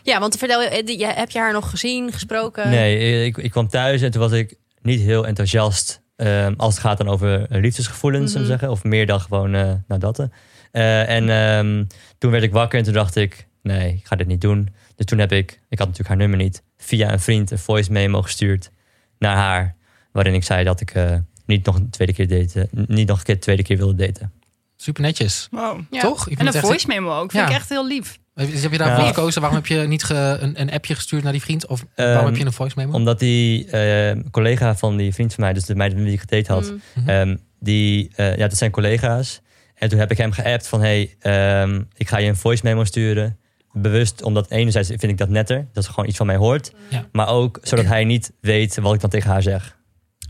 D: Ja, want vertel, eh, die- je- heb je haar nog gezien, gesproken?
B: Nee, eh, ik, ik kwam thuis en toen was ik niet heel enthousiast. ehm, als het gaat dan over eh, liefdesgevoelens, zullen we
D: Mhm.
B: zeggen. Of meer dan gewoon eh nou dat. eh. Eh, en ehm, toen werd ik wakker en toen dacht ik... Nee, ik ga dit niet doen. Dus toen heb ik, ik had natuurlijk haar nummer niet... via een vriend een voice memo gestuurd naar haar... waarin ik zei dat ik eh, niet nog een tweede keer daten... niet nog een keer tweede keer wilde daten.
A: Super netjes.
C: Wow.
D: Ja.
A: Toch? Ik
C: En
A: vind
C: een
A: het echt-
C: voice memo ook. Vind
A: Ja.
C: ik echt heel lief.
A: Heb je daarvoor
B: Ja.
A: gekozen? Waarom heb je niet ge- een, een appje gestuurd naar die vriend? Of waarom
B: Ehm,
A: heb je een voice
D: Hm.
A: memo?
B: Omdat die eh, collega van die vriend van mij... dus de meid met wie ik gedate had...
D: Mm.
A: Mhm.
B: Ehm, die, eh, ja, dat zijn collega's. En toen heb ik hem geappt van... hey, ehm, ik ga je een voice memo sturen. Bewust, omdat enerzijds vind ik dat netter. Dat ze gewoon iets van mij hoort.
D: Hm.
A: Ja.
B: Maar ook zodat hij niet weet wat ik dan tegen haar zeg.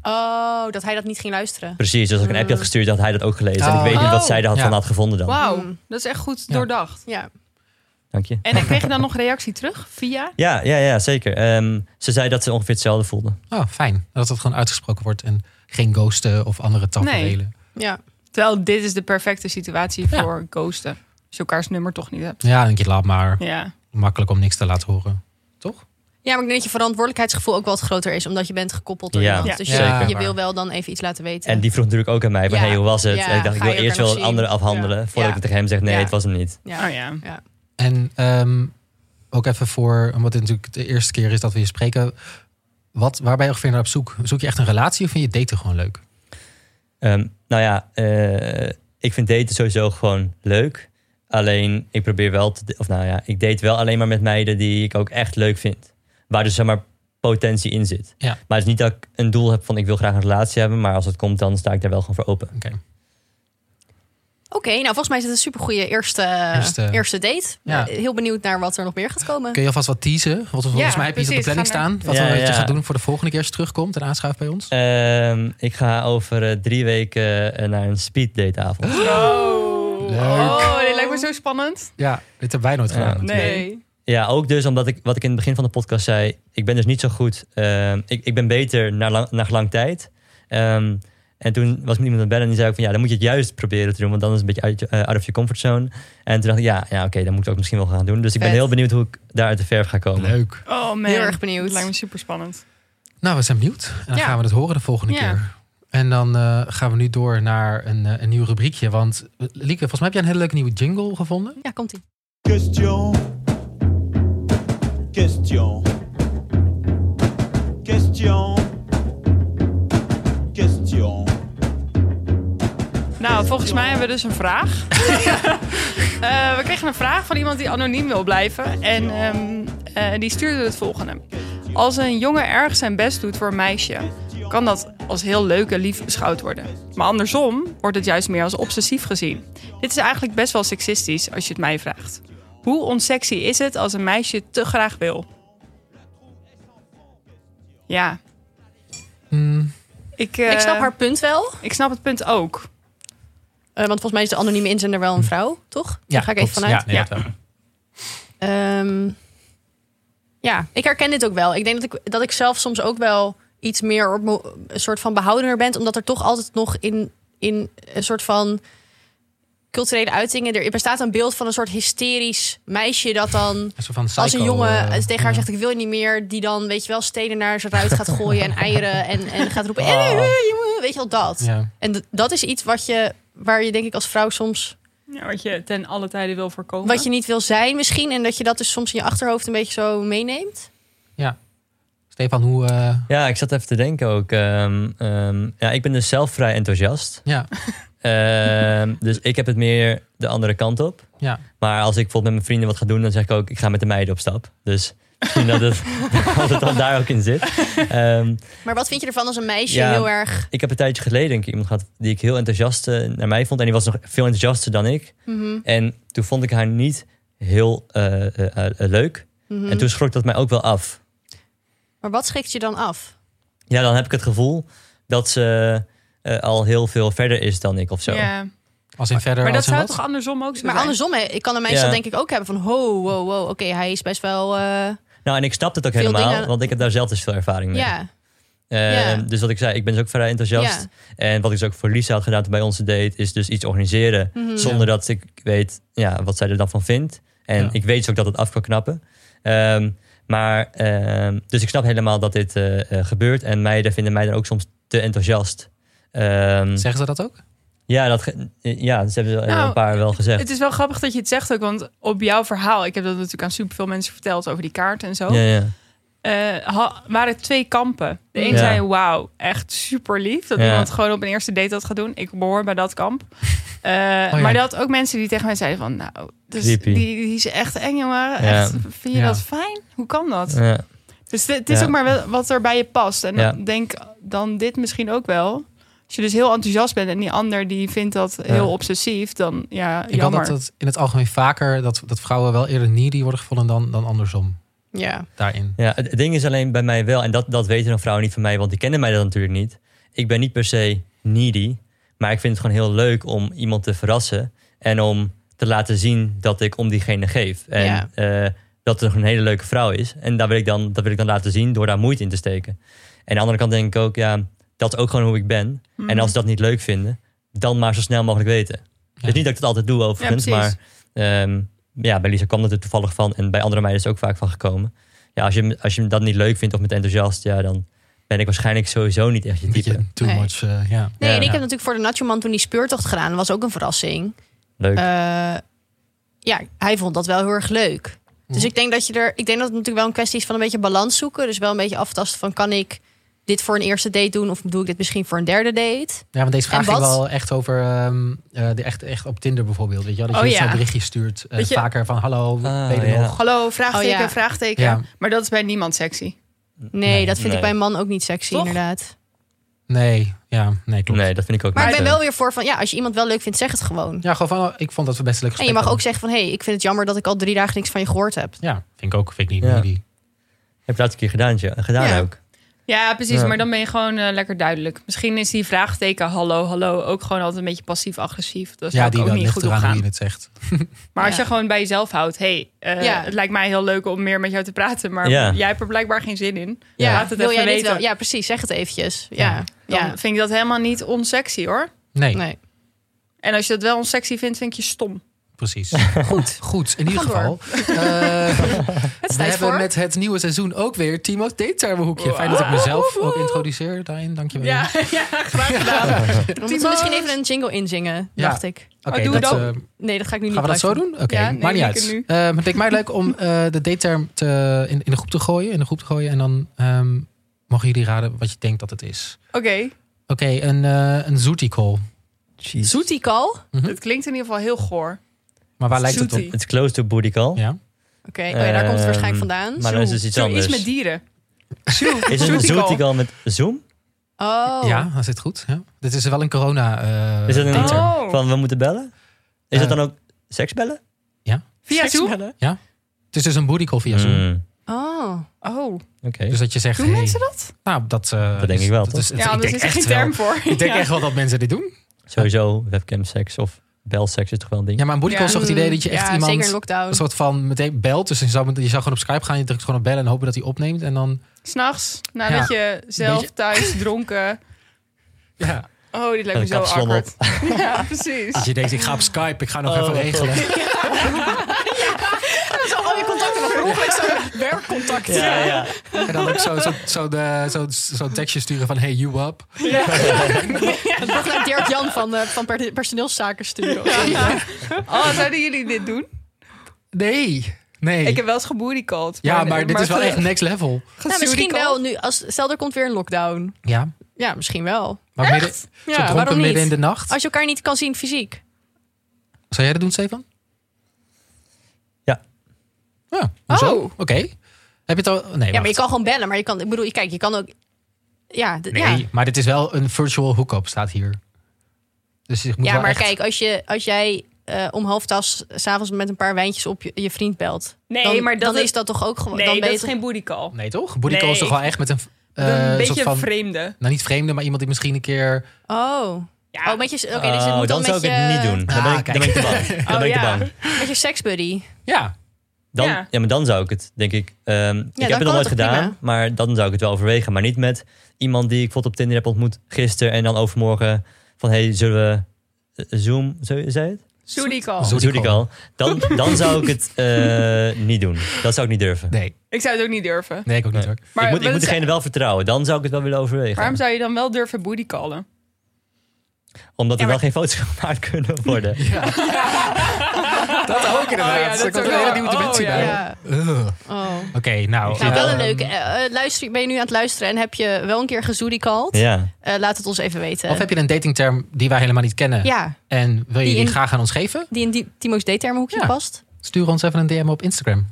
D: Oh, dat hij dat niet ging luisteren.
B: Precies, dus als ik
D: Hm.
B: een appje had gestuurd... had hij dat ook gelezen. En
A: Oh.
B: ik weet niet wat
C: Oh.
B: zij daar had
A: Ja.
B: van had gevonden dan.
C: Wauw,
D: Mm.
C: dat is echt goed
A: Ja.
C: doordacht.
D: Ja.
B: Dank je.
C: En kreeg je dan nog reactie terug via?
B: Ja, ja, ja zeker. Ehm, ze zei dat ze ongeveer hetzelfde voelde.
A: Oh, fijn. Dat het gewoon uitgesproken wordt en geen ghosten of andere tafereelen.
D: ja.
C: Terwijl dit is de perfecte situatie
A: Ja.
C: voor ghosten. Als je elkaars nummer toch niet hebt.
A: Ja, dan denk je, laat maar.
C: Ja.
A: Makkelijk om niks te laten horen. Toch?
D: Ja, maar ik denk dat je verantwoordelijkheidsgevoel ook wel wat groter is, omdat je bent gekoppeld door
B: Ja.
D: iemand.
B: Ja.
D: Dus
A: Ja,
D: je, je
A: waar.
D: wil wel dan even iets laten weten.
B: En die vroeg natuurlijk ook aan mij van...
D: Ja.
B: hey, hoe was het?
D: Ja,
B: En ik dacht, ik
D: ga
B: wil
D: je
B: eerst wel
D: elkaar
B: een
D: nog
B: andere
D: zien?
B: afhandelen... voordat
D: Ja.
B: ik tegen hem zeg, nee,
D: Ja.
B: het was hem niet.
D: ja.
C: Oh ja.
A: En ehm, ook even voor, omdat dit natuurlijk de eerste keer is dat we hier spreken. Wat, waar ben je ongeveer naar op zoek? Zoek je echt een relatie of vind je daten gewoon
D: Eh.
A: leuk?
B: Ehm, nou ja, eh, ik vind daten sowieso gewoon leuk. Alleen ik probeer wel te. Of nou ja, ik date wel alleen maar met meiden die ik ook echt leuk vind. Waar dus zeg maar potentie in zit.
A: Ja.
B: Maar het is niet dat ik een doel heb van ik wil graag een relatie hebben. Maar als het komt, dan sta ik daar wel gewoon voor open.
A: Oké.
D: Oké, nou volgens mij is het een supergoeie eerste,
A: Eerste-
D: eerste. date.
A: Ja.
D: Eh, Heel benieuwd naar wat er nog meer gaat komen.
A: Kun je alvast wat teasen? Want volgens
C: Ja,
A: mij heb je iets op de
C: precies.
A: planning
C: Ga maar.
A: staan. Wat
B: Ja,
A: we- wat je
B: ja.
A: gaat doen voor de volgende keer als je terugkomt en aanschuift bij ons.
B: Ehm, ik ga over eh, drie weken eh, naar een speed date avond.
C: Oh.
A: Leuk.
C: Oh, dit lijkt me zo spannend.
A: Ja, dit hebben wij nooit
B: Ja.
A: gedaan. natuurlijk.
C: Nee.
B: Ja, ook dus omdat ik, wat ik in het begin van de podcast zei, ik ben dus niet zo goed. ehm, ik, ik ben beter na lang, na gelang tijd. Ehm, en toen was ik met iemand aan het bellen en die zei ook van ja, dan moet je het juist proberen te doen, want dan is het een beetje uit, je- eh, out of je comfortzone. En toen dacht ik ja, ja oké, dan moet ik het ook misschien wel gaan doen. Dus ik ben
D: Vet.
B: heel benieuwd hoe ik daar uit de verf ga komen.
A: Leuk.
C: Oh man.
D: Heel erg benieuwd.
C: Dat lijkt me super spannend.
A: Nou, we zijn benieuwd. En dan
C: Ja.
A: gaan we het horen de volgende
C: Ja.
A: keer. En dan eh, gaan we nu door naar een, eh, een nieuw rubriekje. Want eh, Lieke, volgens mij heb jij een hele leuke nieuwe jingle gevonden.
D: Ja, komt ie.
I: Question. Question. Question. Question.
C: Nou, volgens mij hebben we dus een vraag. [laughs] Eh, we kregen een vraag van iemand die anoniem wil blijven. En ehm, eh, die stuurde het volgende. Als een jongen erg zijn best doet voor een meisje... kan dat als heel leuk en lief beschouwd worden. Maar andersom wordt het juist meer als obsessief gezien. Dit is eigenlijk best wel seksistisch als je het mij vraagt. Hoe onsexy is het als een meisje het te graag wil? Ja. Ik, eh,
D: Ik snap haar punt wel. eh,
C: ik snap het punt ook.
D: want volgens mij is de anonieme inzender wel een vrouw, toch? Daar ga ik even
A: klopt.
D: vanuit.
A: Hm. Ja, nee,
C: Ja.
A: dat wel.
D: Ehm, ja, ik herken dit ook wel. Ik denk dat ik, dat ik zelf soms ook wel iets meer op mo- een soort van behoudener ben. Omdat er toch altijd nog in, in een soort van culturele uitingen... Er bestaat een beeld van een soort hysterisch meisje dat dan...
A: Een soort van
D: Als een
A: psycho,
D: jongen
A: eh,
D: het tegen haar zegt, ik wil je niet meer... die dan, weet je wel, stenen naar zijn ruit gaat gooien
B: [laughs]
D: en eieren... en, en gaat roepen, "Eh, eh,
B: Oh.
D: jongen," weet je wel, dat.
A: Ja.
D: En d- dat is iets wat je, waar je denk ik als vrouw soms...
C: Ja, wat je ten alle tijden wil voorkomen.
D: wat je niet wil zijn misschien... en dat je dat dus soms in je achterhoofd een beetje zo meeneemt.
A: ja. Stefan, hoe... eh,
B: Ja, ik zat even te denken ook. ehm, ehm, ja, ik ben dus zelf vrij enthousiast.
A: ja,
B: Ehm, dus ik heb het meer de andere kant op.
A: ja.
B: Maar als ik bijvoorbeeld met mijn vrienden wat ga doen, dan zeg ik ook, ik ga met de meiden op stap. Dus misschien dat het, [laughs] dat het dan daar ook in zit. Ehm,
D: Maar wat vind je ervan als een meisje
B: Ja.
D: heel erg...
B: ik heb een tijdje geleden denk ik, iemand gehad die ik heel enthousiast eh, naar mij vond. En die was nog veel enthousiaster dan ik.
D: Mhm.
B: En toen vond ik haar niet heel eh, eh, eh, leuk.
D: Mhm.
B: En toen schrok dat mij ook wel af.
D: Maar wat schrikt je dan af?
B: Ja, dan heb ik het gevoel dat ze eh, al heel veel verder is dan ik of zo.
C: Ja.
A: Als in verder
C: Maar dat
A: als in
C: zou
A: wat?
C: toch andersom ook zo
D: Maar
C: zijn?
D: andersom, hè, ik kan een meisje
B: Ja.
D: dan denk ik ook hebben van... ho, wow, wow, oké, hij is best wel... eh,
B: Nou, en ik snap het ook
D: Veel
B: helemaal,
D: dingen-
B: want ik heb daar zelf dus veel ervaring mee.
D: ja,
B: Eh,
D: Ja.
B: Dus wat ik zei, ik ben dus ook vrij enthousiast. En wat ik dus ook voor Lisa had gedaan toen bij onze date, is dus iets organiseren.
C: Mhm.
B: Zonder dat ik weet ja, wat zij er dan van vindt. En
A: Ja.
B: ik weet dus ook dat het af kan knappen. Ehm, maar, ehm, dus ik snap helemaal dat dit eh, eh, gebeurt. En meiden vinden mij dan ook soms te enthousiast. Ehm,
A: Zeggen ze dat ook?
B: ja, dat ge- ja, dat hebben ze eh,
C: Nou,
B: een paar wel gezegd.
C: Het is wel grappig dat je het zegt ook, want op jouw verhaal... ik heb dat natuurlijk aan superveel mensen verteld over die kaart en zo...
B: ja, ja.
C: eh, ha- waren het twee kampen. De een
B: Ja.
C: zei, wauw, echt super lief... dat
B: Ja.
C: iemand gewoon op een eerste date dat gaat doen. Ik behoor bij dat kamp.
B: [laughs] Oh
C: Eh, Maar dat ook mensen die tegen mij zeiden van... nou, dus die,
B: Creepy.
C: die is echt eng, jongen. Echt, vind je
A: Ja.
C: dat fijn? Hoe kan dat?
B: Ja.
C: Dus dit- het is
B: Ja.
C: ook maar wel wat er bij je past. En
B: Ja.
C: dan denk dan dit misschien ook wel. Als je dus heel enthousiast bent en die ander die vindt dat heel obsessief, dan ja,
A: Ik had
C: jammer.
A: dat het in het algemeen vaker dat, dat vrouwen wel eerder needy worden gevonden dan, dan andersom
D: ja.
A: daarin.
C: Mm.
B: Ja, het het ding is alleen bij mij wel, en dat, dat weten dan vrouwen niet van mij, want die kennen mij dat natuurlijk niet. Ik ben niet per se needy, maar ik vind het gewoon heel leuk om iemand te verrassen en om te laten zien dat ik om diegene geef. En
D: Ja.
B: eh, dat het een hele leuke vrouw is. En daar wil ik dan, dat wil ik dan laten zien door daar moeite in te steken. En aan de andere kant denk ik ook, ja, dat is ook gewoon hoe ik ben.
C: Mm.
B: En als ze dat niet leuk vinden, dan maar zo snel mogelijk weten. Dus niet dat ik het altijd doe overigens,
C: Ja,
B: maar
C: precies.
B: ehm, ja, bij Lisa kwam dat er toevallig van. En bij andere meiden is het ook vaak van gekomen. Ja, als je, als je dat niet leuk vindt of met enthousiast, ja, dan ben ik waarschijnlijk sowieso niet echt je
A: Een
B: type.
A: beetje too
D: Nee.
A: much. eh, ja.
D: Nee,
B: Ja.
D: en ik heb natuurlijk voor de Nacho Man toen die speurtocht gedaan. Dat was ook een verrassing.
B: Leuk.
D: Eh, ja, hij vond dat wel heel erg leuk. Dus ik denk dat je er, ik denk dat het natuurlijk wel een kwestie is van een beetje balans zoeken. Dus wel een beetje aftasten van kan ik dit voor een eerste date doen of doe ik dit misschien voor een derde date?
A: Ja, want deze vraag
D: En
A: ging
D: wat-
A: wel echt over ehm, eh, de echt, echt op Tinder bijvoorbeeld. Weet je, wel? dat
C: Oh,
A: je
C: ja.
A: zo'n berichtje stuurt eh,
C: Dat je-
A: vaker van hallo,
B: Ah,
A: ben je er
B: ja.
A: nog?
C: Hallo, vraagteken,
D: Oh, ja.
C: vraagteken.
A: Ja.
C: Maar dat is bij niemand sexy.
D: Nee, dat vind ik
B: Nee.
D: bij een man ook niet sexy
C: Toch?
D: inderdaad.
A: Nee, ja, nee, klopt.
B: nee, dat vind ik ook
D: Maar
B: niet.
D: ik ben
B: eh,
D: wel weer voor van ja, als je iemand wel leuk vindt, zeg het gewoon.
A: Ja, gewoon van, oh, ik vond dat we best een leuk
D: En je
A: gesprek
D: mag
A: hadden.
D: ook zeggen van... hé, hey, ik vind het jammer dat ik al drie dagen niks van je gehoord heb.
A: Ja, vind ik ook, vind ik niet
B: Ja.
A: needy.
B: Heb je laatst een keer gedaan, ja, gedaan
D: Ja.
B: ook.
C: Ja, precies.
B: Ja.
C: Maar dan ben je gewoon eh, lekker duidelijk. Misschien is die vraagteken hallo, hallo ook gewoon altijd een beetje passief-agressief. Dat zou
A: Ja,
C: ik
A: die
C: ook
A: wel
C: niet
A: ligt
C: goed op
A: eraan hoe je
C: gaan.
A: het zegt.
C: Maar als
D: Ja.
C: je gewoon bij jezelf houdt. hey, eh,
D: Ja.
C: het lijkt mij heel leuk om meer met jou te praten. Maar
B: Ja.
C: jij hebt er blijkbaar geen zin in.
D: Ja,
C: Laat het
D: wil
C: even
D: jij dit
C: weten.
D: wel? Ja, precies. Zeg het eventjes. Ja,
C: Dan
D: ja.
C: vind ik dat helemaal niet onsexy hoor.
A: Nee,
D: Nee.
C: En als je dat wel onsexy vindt, vind ik je stom. [laughs]
A: precies. Goed. Goed, in ieder
D: We gaan
A: geval. Eh,
D: Het
A: we
D: staat
A: hebben
D: voor.
A: met het nieuwe seizoen ook weer Timo's Datetermenhoekje. Fijn dat ik mezelf ook introduceer daarin. Dankjewel.
C: Ja, [laughs] ja graag
E: [laughs]
C: gedaan.
D: We moeten misschien even een jingle inzingen,
A: Ja.
D: dacht ik.
A: Oké,
C: Oh, doen we
A: dat,
C: dat?
A: eh,
D: Nee, dat ga ik nu niet
A: Gaan we dat zo
D: blijven
A: doen? Oké,
C: Ja, nee,
A: maakt niet
C: ik
A: uit.
C: het nu.
A: Eh, maar het leek mij leuk om eh, de dateterm te, in, in de groep te gooien. In de groep te gooien. En dan ehm, mogen jullie raden wat je denkt dat het is.
C: Oké,
A: Oké, een, eh een zootical.
B: Jeez.
D: Zoetie kal. Oké,
C: Het klinkt in ieder geval heel goor.
A: Maar waar lijkt het op?
C: Zoetie.
B: It's close to booty call.
A: Ja.
D: oh ja, daar komt het waarschijnlijk
B: Ehm,
D: vandaan.
B: Maar dan is het iets
C: Zo,
B: anders.
C: iets met dieren.
B: Is het een
C: Zootical.
B: zootical met Zoom?
D: Oh,
A: Ja, dat zit goed. Ja. Dit is wel een corona. eh,
B: Is dat een
A: ding.
B: iets
C: Oh.
B: van we moeten bellen? Is
A: Eh.
B: dat dan ook seksbellen?
C: Via Zoom?
B: Seksbellen?
A: Het is dus een booty call via Zoom.
B: Mm,
D: oh.
C: Oh,
B: Oké.
A: Dus dat je zegt.
C: doen
A: hey,
C: mensen dat?
A: Nou, dat, eh,
B: Dat denk
A: is-
B: ik wel,
A: dat
B: toch?
A: is-
C: Ja,
A: ik
C: anders
A: denk
C: is er
A: echt
C: geen term
A: wel-
C: voor.
A: Ik denk
C: Ja.
A: echt wel dat mensen dit doen.
B: Sowieso webcam seks of belseks is toch wel een ding?
A: Ja, maar een booty call is toch het idee dat je echt
D: ja,
A: iemand
D: zeker in lockdown.
A: een soort van meteen belt. Dus je zou, je zou gewoon op Skype gaan, je drukt gewoon op bellen en hopen dat hij opneemt. En dan.
C: S'nachts, nadat je zelf
A: Beetje-
C: thuis dronken...
A: Ja.
C: Oh, dit lijkt me
B: Met een
C: zo
B: kapsalon
C: awkward. [laughs] Ja, precies.
A: Als Dus je denkt, ik ga op Skype, ik ga nog
B: Oh,
A: even
B: God. [laughs]
A: regelen.
C: al je contacten nog vroeg. Zo'n werkcontact.
E: [laughs]
B: Ja, ja.
A: En dan ook zo, zo, zo, de, zo, zo'n tekstje sturen van hey, you up.
D: Dat wordt gelijk Dirk Jan van, eh, van per- personeelszaken sturen.
C: Oh, zouden jullie dit doen?
A: Nee. Nee.
C: Ik heb wel eens geboericalled.
A: ja, maar dit is wel echt next level.
D: Nou, misschien wel nu. Als, stel, er komt weer een lockdown.
A: Ja.
D: Ja, misschien wel.
A: Maar midden, zo
D: Ja,
A: dronken
D: waarom
A: midden in
D: niet?
A: de nacht.
D: Als je elkaar niet kan zien fysiek.
A: Zou jij dat doen, Stefan?
B: Ja.
A: Ja, hoezo?
D: Oh.
A: Oké. Heb je het al... Nee,
D: Ja, maar je
A: wacht.
D: kan gewoon bellen. Maar je kan, ik bedoel, kijk, je kan ook... Ja, d-
A: Nee,
D: ja.
A: maar dit is wel een virtual hookup, staat hier. Dus je moet
D: ja
A: wel
D: maar
A: echt-
D: kijk, als, je, als jij eh, om half tas s'avonds met een paar wijntjes op je, je vriend belt.
E: Nee,
D: dan,
E: maar dat
D: dan
E: is-
D: is dat toch ook gewoon...
E: Nee,
D: dan
E: dat
D: weet
E: is geen bodycall.
A: Nee, toch? Booty call is toch
E: Nee.
A: wel echt met een... eh,
E: een beetje
A: soort van,
E: vreemde.
A: Nou, niet vreemde, maar iemand die misschien een keer...
D: Oh.
E: Ja.
D: Oh, met je... Oké,
B: Oh,
D: dus het moet
B: dan
D: dan,
B: zou
D: met
B: ik
D: je, Ah, Oh,
B: het niet doen. Dan ben ik, dan ben ik te bang. Dan ben ik te
E: ja.
B: bang.
D: Met je seksbuddy.
A: Ja.
B: Dan, ja.
E: Ja.
B: maar dan zou ik het, denk ik. ehm, ik heb
D: kan
B: het nog nooit
D: het toch
B: gedaan,
D: prima?
B: maar dan zou ik het wel overwegen. Maar niet met iemand die ik bijvoorbeeld op Tinder heb ontmoet gisteren en dan overmorgen van hey, zullen we eh, Zoom, zo zei je het?
C: Zoedikal.
A: Zo-
B: Zoet Oh, ik al. Dan, dan zou ik het [laughs] eh, niet doen. Dat zou ik niet durven.
A: Nee.
C: Ik zou het ook niet durven.
A: Nee, ik ook niet hoor.
C: Maar
B: ik moet, ik
C: wat
B: moet
C: is-
B: degene wel vertrouwen. Dan zou ik het wel willen overwegen.
C: waarom zou je dan wel durven bodycallen?
B: Omdat er
D: Ja,
B: wel geen foto's [laughs] gemaakt kunnen worden.
A: Dat ook inderdaad.
C: Oh ja, dat
A: Er komt
C: ook
A: een hele
C: wel.
A: nieuwe
C: Oh,
A: dimensie
C: ja.
A: bij.
D: Ja.
A: Ugh.
D: Oh.
A: Oké, nou.
D: Nou, wel
A: eh,
D: een leuke. Eh, eh, luister, ben je nu aan het luisteren en heb je wel een keer gezoedikald?
B: Ja.
D: Eh, laat het ons even weten.
A: Of heb je een datingterm die wij helemaal niet kennen?
D: Ja,
A: En wil je
D: Die
A: die
D: in-
A: graag aan ons geven?
D: die in die- Timo's D-termenhoekje
A: Ja.
D: past.
A: Stuur ons even een DM op Instagram.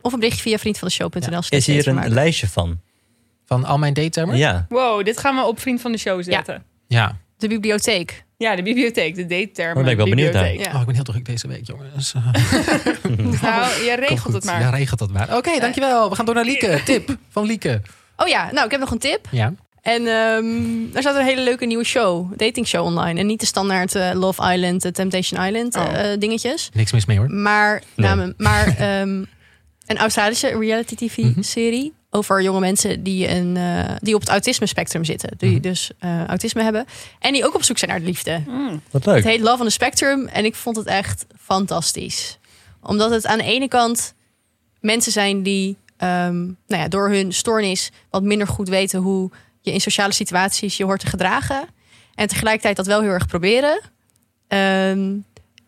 D: Of een berichtje via vriendvandeshow.nl. slash
B: Is hier een
D: datevermaak.
B: lijstje van?
A: Van al mijn datetermen?
B: Ja.
C: Wow, dit gaan we op Vriend van de Show zetten.
A: Ja.
D: De bibliotheek.
C: Ja, de bibliotheek, de date-termen.
B: Daar ben ik wel benieuwd naar.
D: Ja.
A: Oh, ik ben heel druk deze week, jongens. Eh,
C: Nou, je regelt
A: goed.
C: het maar.
A: Ja, regelt dat maar. Oké, dankjewel. We gaan door naar
D: [laughs]
A: Lieke. Tip van Lieke.
D: Oh ja, nou, ik heb nog een tip.
A: Ja.
D: En ehm er staat een hele leuke nieuwe show, dating show online. En niet de standaard eh, Love Island, eh, Temptation Island eh, eh, dingetjes.
A: Niks mis mee hoor.
D: Maar,
B: Nee.
D: namen, maar ehm, een Australische reality TV serie over jonge mensen die, een, eh, die op het autisme spectrum zitten. Die dus eh, autisme hebben. En die ook op zoek zijn naar de liefde.
B: Wat leuk.
D: Het heet Love on the Spectrum en ik vond het echt fantastisch. Omdat het aan de ene kant mensen zijn die ehm, nou ja, door hun stoornis wat minder goed weten hoe je in sociale situaties je hoort te gedragen. En tegelijkertijd dat wel heel erg proberen. Ehm,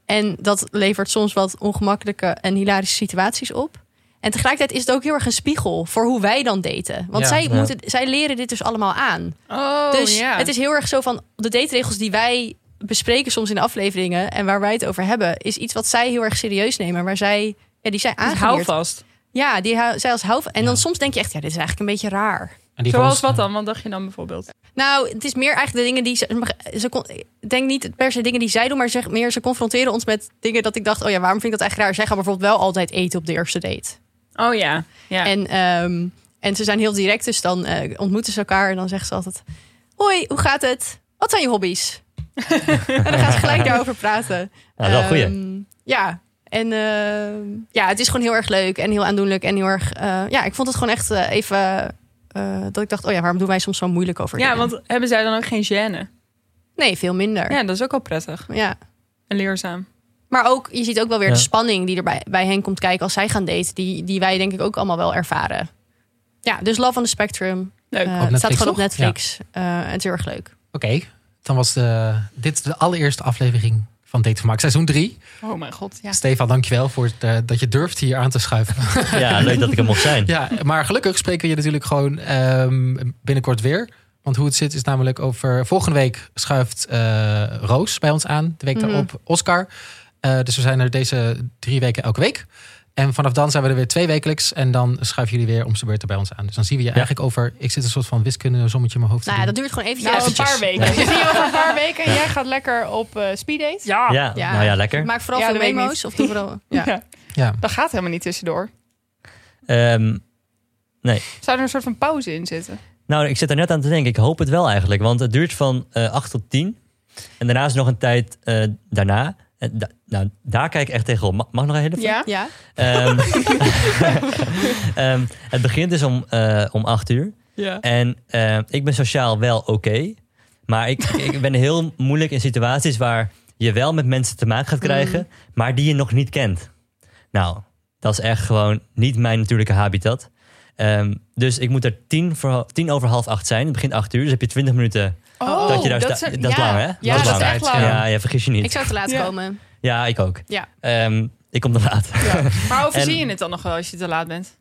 D: en dat levert soms wat ongemakkelijke en hilarische situaties op. En tegelijkertijd is het ook heel erg een spiegel voor hoe wij dan daten. Want
A: Ja,
D: zij,
B: ja.
D: Moeten, zij leren dit dus allemaal aan.
C: Oh,
D: Dus
C: ja.
D: het is heel erg zo van de dateregels die wij bespreken soms in de afleveringen en waar wij het over hebben, is iets wat zij heel erg serieus nemen, waar zij ja, die zij
E: Hou
D: aangeleerd.
E: vast.
D: Ja, die hou- zij als hou en dan soms denk je echt ja, dit is eigenlijk een beetje raar.
A: En die
C: Zoals
A: van
C: wat
A: ons-
C: dan? Wat dacht je dan bijvoorbeeld?
D: Nou, het is meer eigenlijk de dingen die ze. mag- ze kon- ik denk niet per se dingen die zij doen, maar zeg meer ze confronteren ons met dingen dat ik dacht, oh ja, waarom vind ik dat eigenlijk raar? Zij gaan bijvoorbeeld wel altijd eten op de eerste date.
C: Oh ja. ja.
D: En, ehm, en ze zijn heel direct, dus dan eh, ontmoeten ze elkaar en dan zeggen ze altijd: Hoi, hoe gaat het? Wat zijn je hobby's? [laughs] en dan gaan ze gelijk daarover praten.
B: Nou, wel een goeie.
D: Ehm, ja. En ehm, ja, het is gewoon heel erg leuk en heel aandoenlijk en heel erg. eh, ja, ik vond het gewoon echt eh, even eh, dat ik dacht: oh ja, waarom doen wij soms zo moeilijk over?
C: ja,
D: dingen?
C: want hebben zij dan ook geen gêne?
D: nee, veel minder. Ja.
C: Ja, dat is ook al prettig en leerzaam.
D: Maar ook, je ziet ook wel weer
B: Ja.
D: de spanning die er bij, bij hen komt kijken als zij gaan daten, die, die wij denk ik ook allemaal wel ervaren. Ja, dus Love on the Spectrum.
C: Leuk.
D: Eh,
A: Op
D: het staat
A: Netflix,
D: gewoon op
A: toch?
D: Netflix. Eh, en het is heel erg leuk.
A: Oké, dan was de, dit de allereerste aflevering van Datevermaak seizoen 3.
C: Oh mijn god, ja.
A: Stefan, dankjewel voor het, eh, dat je durft hier aan te
D: [laughs]
A: schuiven.
B: Ja, leuk dat ik er mocht zijn.
A: ja, maar gelukkig spreken we je natuurlijk gewoon ehm, binnenkort weer. Want Want hoe het zit is namelijk over... Volgende week schuift eh, Roos bij ons aan. De week
D: Mhm.
A: daarop Oscar. Eh, dus we zijn er deze drie weken elke week. En vanaf dan zijn we er weer twee wekelijks. En dan schuiven jullie weer om zijn beurt er bij ons aan. Dus dan zien we je eigenlijk over... Ik zit een soort van wiskunde sommetje in mijn hoofd te
D: Nou ja,
A: doen.
D: dat duurt gewoon eventjes.
C: Nou, een paar weken.
B: Ja.
C: We zien je over een paar weken. Jij gaat lekker op eh speeddate.
B: Ja,
J: Ja.
D: Ja.
B: nou ja, lekker.
D: Maak vooral
C: Ja,
D: veel
C: dat weet ik
D: memo's. Of doe vooral... [laughs] Ja.
C: Ja.
A: Ja.
C: Dat gaat helemaal niet tussendoor.
B: Ehm,
C: Zou er een soort van pauze in zitten?
B: nou, ik zit er net aan te denken. Ik hoop het wel eigenlijk. Want het duurt van eh 8 tot 10. En daarna is nog een tijd eh, daarna. En da- nou, daar kijk ik echt tegenop. Mag, mag nog een hele
C: Ja.
D: Ja.
B: Ehm, [laughs] ehm, het begint dus om, eh om acht uur.
J: Ja.
B: En ehm, ik ben sociaal wel oké. maar ik, ik ben heel moeilijk in situaties waar je wel met mensen te maken gaat krijgen,
C: Mm.
B: maar die je nog niet kent. Nou, dat is echt gewoon niet mijn natuurlijke habitat. Ehm, dus ik moet er tien, voor, tien over half acht zijn. Het begint acht uur, dus heb je twintig minuten
C: Oh,
B: dat je daar
C: dat
B: sta-
C: is-
B: dat is
C: ja.
B: lang, hè?
C: Ja, dat is
B: lang.
C: echt lang.
B: Ja, ja, vergis je niet.
D: Ik zou te laat
J: Ja.
D: komen.
B: Ja, ik ook.
D: Ja.
B: Ehm, ik kom te laat.
C: [laughs] Maar
B: En-
C: overzie je het dan nog wel als je te laat bent?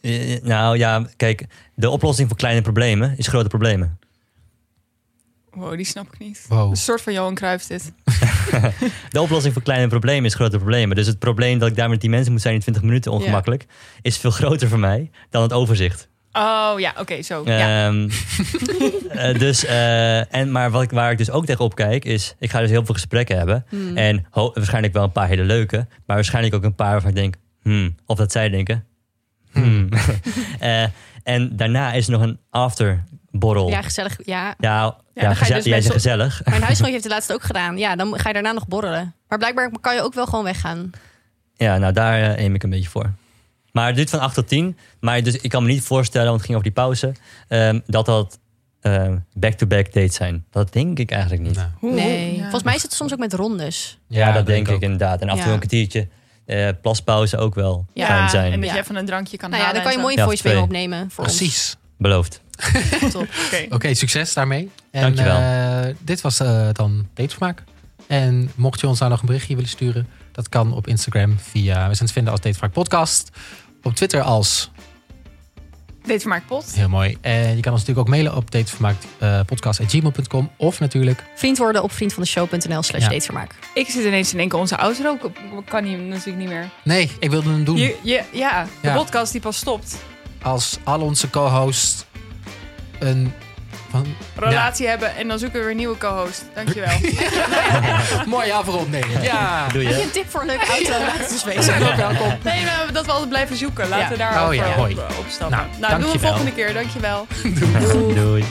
B: Eh, Nou ja, kijk, de oplossing voor kleine problemen is grote problemen.
C: Wow, die snap ik niet.
A: Wow.
C: Een soort van Johan Cruijff dit.
B: De oplossing voor kleine problemen is grote problemen. Dus het probleem dat ik daar met die mensen moet zijn in 20 minuten ongemakkelijk, is veel groter voor mij dan het overzicht.
C: Oh ja, oké, zo. ja. [laughs]
B: Ehm, eh, dus, eh, en, maar wat ik, waar ik dus ook tegenop kijk, is ik ga dus heel veel gesprekken hebben.
C: Hmm.
B: En ho- waarschijnlijk wel een paar hele leuke, maar waarschijnlijk ook een paar waarvan ik denk, hmm, of dat zij denken. Hmm. [laughs] Eh, en daarna is er nog een afterborrel.
D: Ja,
B: Ja,
D: gezellig. Ja.
B: ja,
C: dan ga
B: geze-
C: je
B: jij
C: dus
B: zegt
C: mensen-
B: gezellig.
D: Mijn huisgenootje heeft het laatst ook gedaan. Ja, dan ga je daarna nog borrelen. Maar blijkbaar kan je ook wel gewoon weggaan.
B: Ja, nou daar eh, aim ik een beetje voor. Maar het duurt van 8 tot 10. Maar dus ik kan me niet voorstellen, want het ging over die pauze, ehm, dat dat ehm, back-to-back dates zijn. Dat denk ik eigenlijk niet.
A: Nou,
C: Hoe-
D: Nee.
C: ja.
D: Volgens mij is het soms ook met rondes.
B: ja, dat denk ik,
A: ook.
B: inderdaad. En af en toe
D: Ja.
B: een kwartiertje eh, plaspauze ook wel
C: Ja,
B: fijn zijn.
C: en dat je
D: Ja.
C: even een drankje kan
D: Nou ja,
C: halen
D: dan kan je
C: en
D: mooi
B: Ja,
D: een
B: twee.
D: voicemail opnemen voor
A: Precies.
B: Beloofd.
D: ons. Top.
C: zo. Oké.
A: Oké, succes daarmee. En,
B: Dankjewel.
A: eh, dit was eh, dan Datevermaak. En mocht je ons nou nog een berichtje willen sturen, dat kan op Instagram via. We zijn te vinden als Datevermaak Podcast. Op Twitter als
C: Dit vermaakt pot.
A: heel mooi. En je kan ons natuurlijk ook mailen op eh, datevermaakpodcast.gmail.com. of natuurlijk
D: Vriend worden op vriendvandeshow.nl slash
A: Ja.
D: datevermaak.
C: Ik zit ineens te denken, onze outro k- kan hier natuurlijk niet meer.
A: Nee, ik wilde hem doen.
C: Je, je, ja, de
A: Ja.
C: podcast die pas stopt.
A: Als al onze co-hosts een. Van, [laughs]
C: Relatie hebben en dan zoeken we weer een nieuwe co-host. Dankjewel. [laughs]
A: mooi afrond, nee. Ja.
B: Doe
A: [laughs]
D: Heb je
B: je?
D: een tip voor een leuke auto? Laat het ons weten.
C: nee, maar dat we altijd blijven zoeken. Laten we
A: Oh
C: daar
A: ja,
C: ook
A: hoi.
C: op, opstappen.
A: Nou,
C: Nou, doen we
A: dankjewel.
C: volgende keer. Dankjewel.
B: Doei.